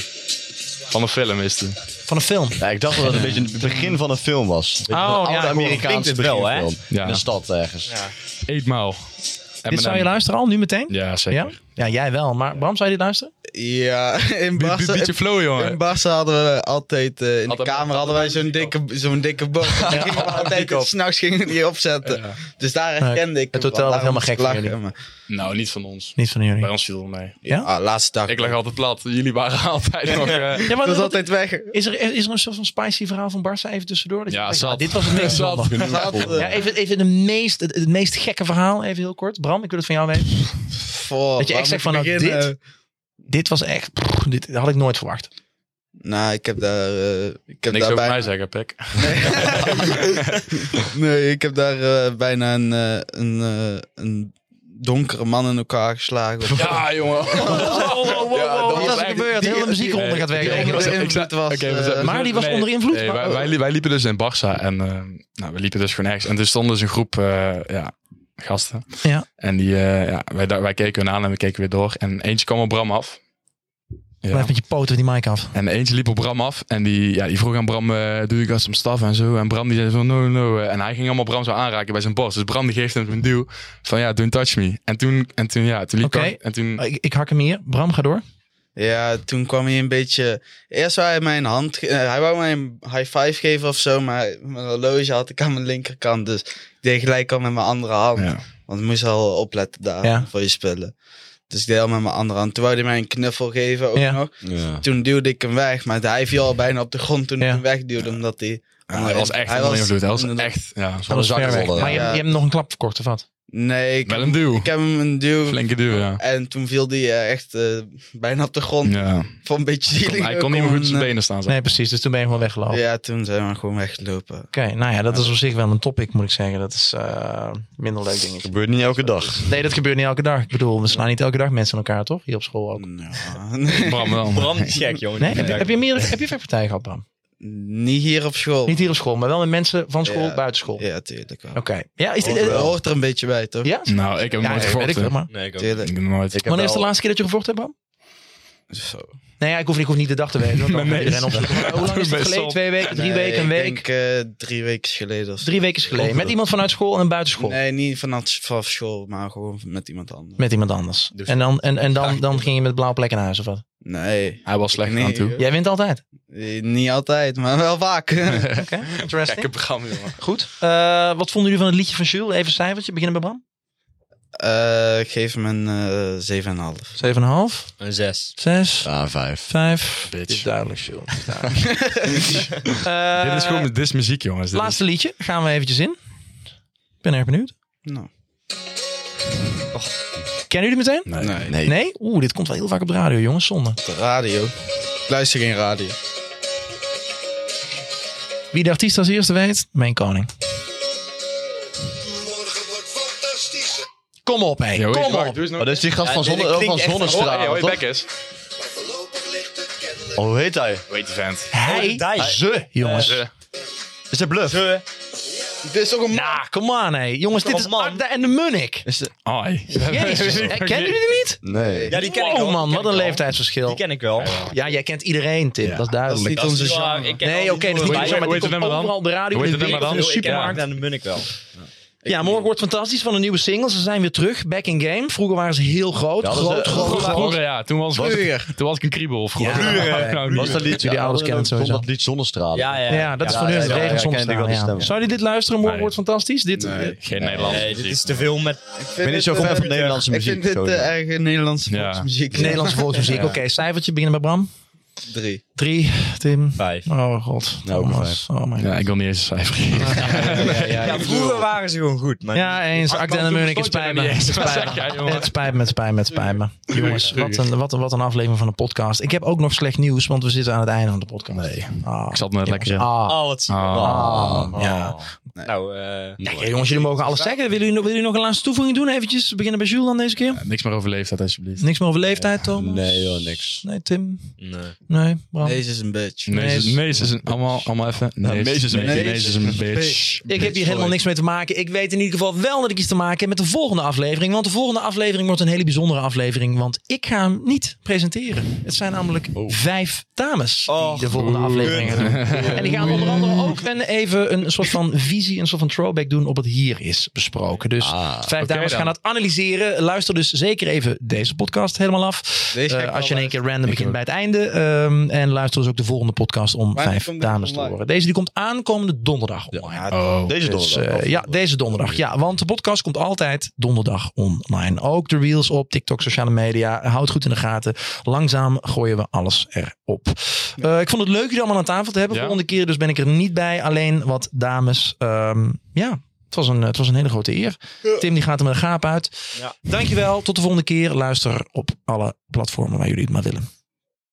[SPEAKER 3] Van de film is het.
[SPEAKER 5] Van een film.
[SPEAKER 6] Ja, ik dacht dat het een beetje het begin van een film was. Een
[SPEAKER 5] Oh,
[SPEAKER 6] oude
[SPEAKER 5] ja, cool.
[SPEAKER 6] Amerikaanse
[SPEAKER 2] Klinkt het wel, hè?
[SPEAKER 6] beginfilm.
[SPEAKER 3] Ja.
[SPEAKER 6] In de stad ergens.
[SPEAKER 3] Eetmaal.
[SPEAKER 5] Dit zou je luisteren al, nu meteen?
[SPEAKER 3] Ja,
[SPEAKER 5] Ja?
[SPEAKER 3] zeker.
[SPEAKER 5] Ja, jij wel. Maar Bram, zou je dit luisteren?
[SPEAKER 4] Ja,
[SPEAKER 3] Be-
[SPEAKER 4] in
[SPEAKER 3] be-
[SPEAKER 4] Barca,
[SPEAKER 5] eh,
[SPEAKER 3] Beetje flow,
[SPEAKER 4] in
[SPEAKER 3] jongen.
[SPEAKER 4] Barca hadden we altijd, eh, in
[SPEAKER 3] Altijd-
[SPEAKER 4] de kamer hadden wij zo'n dikke, zo'n dikke boog. Die gingen we altijd, s'nachts gingen we die opzetten. Dus daar herkende ik
[SPEAKER 5] het
[SPEAKER 4] hem
[SPEAKER 5] hotel
[SPEAKER 4] wel.
[SPEAKER 5] was helemaal
[SPEAKER 4] Daarom
[SPEAKER 5] gek van
[SPEAKER 4] moest ik
[SPEAKER 5] jullie.
[SPEAKER 4] maar-
[SPEAKER 3] Nou, niet van ons.
[SPEAKER 5] Niet van jullie.
[SPEAKER 3] Bij ons viel het mee.
[SPEAKER 4] Ah, laatste dag.
[SPEAKER 3] Ik lag altijd plat. Jullie waren altijd nog... eh,
[SPEAKER 5] Ja, maar
[SPEAKER 4] dat is
[SPEAKER 5] wat-
[SPEAKER 4] altijd weg.
[SPEAKER 5] is, er, is er een soort van spicy verhaal van Barça even tussendoor? Dat je
[SPEAKER 3] Ja,
[SPEAKER 5] denkt,
[SPEAKER 3] zat.
[SPEAKER 5] nou, Dit was het meest
[SPEAKER 3] Zat.
[SPEAKER 5] zonde.
[SPEAKER 4] eh,
[SPEAKER 5] Ja, even, even de meest, het, het meest gekke verhaal, even heel kort. Bram, ik wil het van jou weten.
[SPEAKER 4] Voor,
[SPEAKER 5] Dat je echt zegt van, nou, dit- Dit was echt, pff, dit had ik nooit verwacht.
[SPEAKER 4] Nou, ik heb daar, eh, ik heb
[SPEAKER 3] Niks
[SPEAKER 4] daar
[SPEAKER 3] over
[SPEAKER 4] bijna,
[SPEAKER 3] mij zeggen, Pek.
[SPEAKER 4] nee, ik heb daar eh, bijna een, eh, een, eh, een donkere man in elkaar geslagen.
[SPEAKER 3] Ja, jongen.
[SPEAKER 5] Ja,
[SPEAKER 3] dat
[SPEAKER 5] wat
[SPEAKER 3] was
[SPEAKER 5] is er
[SPEAKER 3] echt-
[SPEAKER 5] gebeurd? De hele
[SPEAKER 4] die-
[SPEAKER 5] muziek onder gaat
[SPEAKER 4] die-
[SPEAKER 5] werken.
[SPEAKER 4] die-
[SPEAKER 3] was-
[SPEAKER 4] onder
[SPEAKER 3] ik
[SPEAKER 4] invloed was,
[SPEAKER 3] oké, we zijn-
[SPEAKER 4] eh,
[SPEAKER 3] we
[SPEAKER 5] Maar
[SPEAKER 3] zijn-
[SPEAKER 5] die was onder invloed,
[SPEAKER 3] Nee,
[SPEAKER 5] maar-
[SPEAKER 3] wij, wij, li- wij liepen dus in Barça en eh, nou, we liepen dus gewoon ergens. En er stond dus een groep eh, ja, gasten.
[SPEAKER 5] Ja.
[SPEAKER 3] En die, eh, ja, wij, da- wij keken hun aan en we keken weer door. En eentje kwam op Bram af. Ja.
[SPEAKER 5] Blijf met je poten van die mic af.
[SPEAKER 3] En eentje liep op Bram af en die, ja, die vroeg aan Bram, eh, doe ik als hem staf en zo. En Bram die zei van, no, no. eh, En hij ging allemaal Bram zo aanraken bij zijn borst. Dus Bram die geeft hem een duw van, ja, don't touch me. En toen, en toen ja, toen liep
[SPEAKER 5] Oké.
[SPEAKER 3] hij- en toen,
[SPEAKER 5] Ik, ik hak hem hier. Bram, ga door.
[SPEAKER 4] Ja, toen kwam hij een beetje. Eerst wou hij mij een hand. ge- eh, Hij wou mij een high five geven of zo. Maar mijn horloge had ik aan mijn linkerkant. Dus ik deed gelijk al met mijn andere hand.
[SPEAKER 3] ja.
[SPEAKER 4] Want ik moest al opletten daar
[SPEAKER 5] Ja.
[SPEAKER 4] voor je spullen. Dus ik deed al met mijn andere hand. Toen wou hij mij een knuffel geven ook
[SPEAKER 5] Ja.
[SPEAKER 4] nog.
[SPEAKER 6] Ja.
[SPEAKER 4] Toen duwde ik hem weg. Maar hij viel al bijna op de grond toen
[SPEAKER 5] Ja.
[SPEAKER 4] ik hem wegduwde. Omdat hij.
[SPEAKER 3] Ja, hij was echt
[SPEAKER 4] Hij
[SPEAKER 3] onder
[SPEAKER 4] was-
[SPEAKER 3] invloed. Hij was
[SPEAKER 4] inderdaad.
[SPEAKER 3] echt, ja,
[SPEAKER 6] Van de
[SPEAKER 5] Dat was ver weg.
[SPEAKER 6] zakkenrollen.
[SPEAKER 5] Maar je,
[SPEAKER 4] Ja.
[SPEAKER 5] je hebt hem nog een klap verkocht, of wat?
[SPEAKER 4] Nee, ik,
[SPEAKER 3] wel een duw.
[SPEAKER 4] ik heb hem een duw.
[SPEAKER 3] Flinke duw, ja.
[SPEAKER 4] En toen viel hij eh, echt eh, bijna op de grond.
[SPEAKER 3] ja.
[SPEAKER 4] Voor een beetje zielig.
[SPEAKER 3] Hij
[SPEAKER 4] ook
[SPEAKER 3] kon niet meer goed
[SPEAKER 4] om,
[SPEAKER 3] op zijn
[SPEAKER 4] eh,
[SPEAKER 3] benen staan. zeg.
[SPEAKER 5] Nee, precies. Dus toen ben je gewoon weggelopen.
[SPEAKER 4] Ja, toen zijn we gewoon weggelopen.
[SPEAKER 5] Oké, nou ja, dat is op zich wel een topic, moet ik zeggen. Dat is eh, minder leuk dingetje.
[SPEAKER 6] Gebeurt niet elke dag.
[SPEAKER 5] Nee, dat gebeurt niet elke dag. Ik bedoel, we slaan niet elke dag mensen aan elkaar, toch? Hier op school ook.
[SPEAKER 4] Ja. Nee.
[SPEAKER 3] Bram wel.
[SPEAKER 2] Bram is gek, jongen.
[SPEAKER 5] Nee, heb, je- heb je meer heb je vechtpartijen gehad, Bram?
[SPEAKER 4] Niet hier op school.
[SPEAKER 5] Niet hier op school, maar wel met mensen van school,
[SPEAKER 4] Ja.
[SPEAKER 5] buiten school.
[SPEAKER 4] Ja, tuurlijk wel.
[SPEAKER 5] Oké. Ja, is dit...
[SPEAKER 4] Hoort,
[SPEAKER 5] eh,
[SPEAKER 4] hoort er een beetje bij, toch?
[SPEAKER 5] ja?
[SPEAKER 3] Nou, ik heb hem
[SPEAKER 5] Ja,
[SPEAKER 3] nooit
[SPEAKER 5] ja, weet ik veel,
[SPEAKER 3] gevochten.
[SPEAKER 5] maar...
[SPEAKER 2] Nee, ik ook niet.
[SPEAKER 4] Tuurlijk.
[SPEAKER 3] Ik heb hem nooit.
[SPEAKER 5] Wanneer is de laatste keer dat je gevochten hebt, Bram?
[SPEAKER 4] Zo.
[SPEAKER 5] Nee, ja, ik hoef, niet- ik hoef niet de dag te weten. want dan
[SPEAKER 3] Nee,
[SPEAKER 5] kan iedereen
[SPEAKER 3] nee.
[SPEAKER 5] opzoeken. Maar Hoe lang is het
[SPEAKER 3] Best
[SPEAKER 5] geleden?
[SPEAKER 3] wel.
[SPEAKER 5] Twee weken, drie
[SPEAKER 4] Nee,
[SPEAKER 5] weken, een
[SPEAKER 4] ik
[SPEAKER 5] week?
[SPEAKER 4] denk, eh, drie weken geleden of zo.
[SPEAKER 5] Drie weken geleden. Met iemand vanuit school en een buitenschool.
[SPEAKER 4] Nee, niet vanaf vanaf school, maar gewoon met iemand anders.
[SPEAKER 5] Met iemand anders.
[SPEAKER 2] Dus-
[SPEAKER 5] en dan, en, en dan, dan ging je met blauwe plekken naar huis, of wat?
[SPEAKER 4] Nee.
[SPEAKER 3] Hij was slecht
[SPEAKER 4] Nee,
[SPEAKER 3] aan toe.
[SPEAKER 4] eh,
[SPEAKER 5] Jij wint altijd.
[SPEAKER 4] eh, Niet altijd, maar wel vaak.
[SPEAKER 5] Oké, interesting.
[SPEAKER 3] programma, jongen.
[SPEAKER 5] Goed. Eh, wat vonden jullie van het liedje van Jules? Even een cijfertje. Beginnen bij Bram.
[SPEAKER 4] Eh, ik geef hem een eh, 7,5.
[SPEAKER 5] 7,5.
[SPEAKER 2] Een zes.
[SPEAKER 5] 6.
[SPEAKER 6] Ah, vijf.
[SPEAKER 5] 5.
[SPEAKER 3] Bitch.
[SPEAKER 5] Dit is duidelijk, Jules. Dit is,
[SPEAKER 3] dit is gewoon dit is muziek, jongens. Dit
[SPEAKER 5] Eh, Laatste liedje. Gaan we eventjes in. Ik ben erg benieuwd.
[SPEAKER 4] Nou,
[SPEAKER 5] Kennen jullie het meteen?
[SPEAKER 3] Nee.
[SPEAKER 4] nee.
[SPEAKER 6] Nee.
[SPEAKER 5] Nee? Oeh, dit komt wel heel vaak op de radio, jongens. Zonde.
[SPEAKER 4] De radio. Ik luister geen radio.
[SPEAKER 5] Wie de artiest als eerste weet? Mijn koning. Kom op, hé.
[SPEAKER 3] Ja, hoe-
[SPEAKER 5] Kom
[SPEAKER 3] wacht,
[SPEAKER 5] op.
[SPEAKER 3] doe eens nog-
[SPEAKER 6] Oh, dat is die gast van,
[SPEAKER 2] Ja, dit
[SPEAKER 6] zonne, oh, van
[SPEAKER 2] klinkt echt-
[SPEAKER 6] Zonnestraal.
[SPEAKER 3] Hoi, hoi,
[SPEAKER 6] toch?
[SPEAKER 3] Bekkes.
[SPEAKER 6] oh, hoe heet hij?
[SPEAKER 3] Weet die vent.
[SPEAKER 5] Hij,
[SPEAKER 2] Oh, die.
[SPEAKER 5] ze, jongens.
[SPEAKER 3] Eh,
[SPEAKER 6] Is dat Bluff?
[SPEAKER 2] Ze.
[SPEAKER 4] Dit is toch een...
[SPEAKER 5] Nou, come on, hé. Jongens, dit
[SPEAKER 2] Kom
[SPEAKER 5] is
[SPEAKER 2] man.
[SPEAKER 5] Agda en de Munnik.
[SPEAKER 3] Hoi.
[SPEAKER 5] Jezus, eh, kennen jullie die niet?
[SPEAKER 6] Nee.
[SPEAKER 2] Ja, die ken ik
[SPEAKER 5] oh
[SPEAKER 2] wel.
[SPEAKER 5] man,
[SPEAKER 2] Die
[SPEAKER 5] wat een
[SPEAKER 2] ken ik wel.
[SPEAKER 5] leeftijdsverschil.
[SPEAKER 2] Die ken ik wel.
[SPEAKER 5] Ja, jij kent iedereen, Tim. dat is
[SPEAKER 4] dat
[SPEAKER 5] duidelijk.
[SPEAKER 4] is niet onze
[SPEAKER 2] Ja,
[SPEAKER 4] genre.
[SPEAKER 2] ik ken al
[SPEAKER 5] Nee,
[SPEAKER 2] die
[SPEAKER 5] oké, dat is niet
[SPEAKER 3] Hoe
[SPEAKER 2] boeren.
[SPEAKER 5] zo, maar
[SPEAKER 3] heet-
[SPEAKER 5] dit
[SPEAKER 3] hoe heet het
[SPEAKER 5] komt
[SPEAKER 3] nummer dan?
[SPEAKER 5] overal op de radio,
[SPEAKER 3] Hoe
[SPEAKER 5] in de
[SPEAKER 3] heet het
[SPEAKER 5] week,
[SPEAKER 3] nummer
[SPEAKER 5] in
[SPEAKER 3] dan?
[SPEAKER 5] de
[SPEAKER 2] Ik ken
[SPEAKER 5] supermarkt.
[SPEAKER 2] Agda en de Munnik wel.
[SPEAKER 5] Ja, morgen wordt fantastisch van een nieuwe single. Ze zijn weer terug, back in game. Vroeger waren ze heel groot,
[SPEAKER 6] Ja, dat is,
[SPEAKER 5] groot,
[SPEAKER 6] eh,
[SPEAKER 5] groot,
[SPEAKER 3] Vroeger,
[SPEAKER 5] groot.
[SPEAKER 3] vroeger, ja. Toen was, was, ik, toen was ik een kriebel of Nou, gewoon.
[SPEAKER 5] Ja. Vroeger.
[SPEAKER 6] Was dat lied?
[SPEAKER 5] Jullie ouders kennen het
[SPEAKER 6] Stond
[SPEAKER 5] sowieso.
[SPEAKER 6] dat lied Zonnestralen?
[SPEAKER 2] Ja, ja.
[SPEAKER 5] Ja, dat is
[SPEAKER 6] Ja,
[SPEAKER 5] van
[SPEAKER 6] ja,
[SPEAKER 5] hun.
[SPEAKER 6] ja, ja,
[SPEAKER 5] Regen
[SPEAKER 6] ja,
[SPEAKER 5] soms
[SPEAKER 6] ik ken die wel, die
[SPEAKER 5] staan, ja.
[SPEAKER 6] stem.
[SPEAKER 5] Zou je dit luisteren? Morgen
[SPEAKER 3] Nee.
[SPEAKER 5] wordt fantastisch. Dit,
[SPEAKER 4] Nee.
[SPEAKER 3] Geen Nederlands.
[SPEAKER 2] Nee, dit is te veel met...
[SPEAKER 6] Ik ben niet zo goed met Nederlandse
[SPEAKER 4] eh, Ik
[SPEAKER 6] muziek.
[SPEAKER 4] vind
[SPEAKER 6] zo,
[SPEAKER 4] dit eh,
[SPEAKER 6] ja.
[SPEAKER 4] erg Nederlandse
[SPEAKER 3] Ja.
[SPEAKER 4] volksmuziek.
[SPEAKER 5] Nederlandse volksmuziek. Oké, cijfertje beginnen bij Bram.
[SPEAKER 4] Drie.
[SPEAKER 5] Drie, Tim.
[SPEAKER 2] Vijf.
[SPEAKER 5] Oh god.
[SPEAKER 6] Nou, ook een
[SPEAKER 5] Thomas. Oh my god.
[SPEAKER 3] Ja, ik wil niet eens een cijfer geven.
[SPEAKER 2] Ja, vroeger waren ze gewoon goed, maar...
[SPEAKER 5] Ja, eens.
[SPEAKER 3] Ach,
[SPEAKER 5] Akte en
[SPEAKER 3] man,
[SPEAKER 5] de
[SPEAKER 3] toen
[SPEAKER 5] Munnik, het
[SPEAKER 3] bestond
[SPEAKER 5] spijt
[SPEAKER 3] je
[SPEAKER 5] me.
[SPEAKER 3] er
[SPEAKER 5] Het
[SPEAKER 3] niet eens.
[SPEAKER 5] spijt
[SPEAKER 3] Wat zeg jij,
[SPEAKER 5] me.
[SPEAKER 3] jongen?
[SPEAKER 5] Het spijt me, het spijt me, het spijt me. Jongens, wat een, wat, een, wat een aflevering van de podcast. Ik heb ook nog slecht nieuws, want we zitten aan het einde van de podcast. Nee.
[SPEAKER 3] Ik zat net lekker in.
[SPEAKER 5] Ah.
[SPEAKER 2] Oh, wat zie
[SPEAKER 5] Ah. Ja.
[SPEAKER 2] Nou, eh...
[SPEAKER 5] Nee, jongens, jullie mogen alles zeggen. Willen jullie, willen jullie nog een laatste toevoeging doen? Eventjes, we beginnen bij Jules dan deze keer.
[SPEAKER 3] Niks meer over leeftijd, alsjeblieft.
[SPEAKER 5] Niks meer over leeftijd,
[SPEAKER 2] eh,
[SPEAKER 5] Thomas?
[SPEAKER 6] Nee, joh, niks.
[SPEAKER 5] Nee, Tim?
[SPEAKER 2] Nee.
[SPEAKER 5] Nee, Bram?
[SPEAKER 4] Deze is een bitch.
[SPEAKER 3] Nee,
[SPEAKER 5] Nees.
[SPEAKER 3] is- Nees is een... Allemaal, allemaal even.
[SPEAKER 6] Nou,
[SPEAKER 3] Nees
[SPEAKER 6] Nees is een
[SPEAKER 3] Nee,
[SPEAKER 6] bitch.
[SPEAKER 3] Nees is een bitch.
[SPEAKER 5] Dus Ik heb hier helemaal niks mee te maken. Ik weet in ieder geval wel dat ik iets te maken heb met de volgende aflevering. Want de volgende aflevering wordt een hele bijzondere aflevering. Want ik ga hem niet presenteren. Het zijn namelijk
[SPEAKER 4] Oh.
[SPEAKER 5] vijf dames die
[SPEAKER 2] Och,
[SPEAKER 5] de volgende aflevering gaan doen. En die gaan onder andere ook een, even een soort van visie, een soort van throwback doen op wat hier is besproken. Dus
[SPEAKER 6] Ah,
[SPEAKER 5] vijf
[SPEAKER 3] oké
[SPEAKER 5] dames
[SPEAKER 3] dan.
[SPEAKER 5] gaan dat analyseren. Luister dus zeker even deze podcast helemaal af.
[SPEAKER 4] Deze ga ik
[SPEAKER 5] Eh,
[SPEAKER 4] wel
[SPEAKER 5] als je in één keer random begint
[SPEAKER 3] ook.
[SPEAKER 5] bij het einde. Ehm, en luister dus ook de volgende podcast om
[SPEAKER 4] Wanneer
[SPEAKER 5] vijf
[SPEAKER 4] komt dit
[SPEAKER 5] dames te
[SPEAKER 4] online?
[SPEAKER 5] horen. Deze die komt aankomende donderdag online.
[SPEAKER 3] Oh.
[SPEAKER 6] Deze
[SPEAKER 5] Dus, eh,
[SPEAKER 6] donderdag.
[SPEAKER 5] ja, deze donderdag. Ja, want de podcast komt altijd donderdag online. Ook de reels op TikTok, sociale media. Houd goed in de gaten. Langzaam gooien we alles erop. Eh, ik vond het leuk jullie allemaal aan tafel te hebben.
[SPEAKER 3] Ja.
[SPEAKER 5] Volgende keer dus ben ik er niet bij. Alleen wat dames. Ehm, ja, het was, een, het was een hele grote eer. Tim die gaat er met een gaap uit.
[SPEAKER 2] Ja.
[SPEAKER 5] Dankjewel. Tot de volgende keer. Luister op alle platformen waar jullie het maar willen.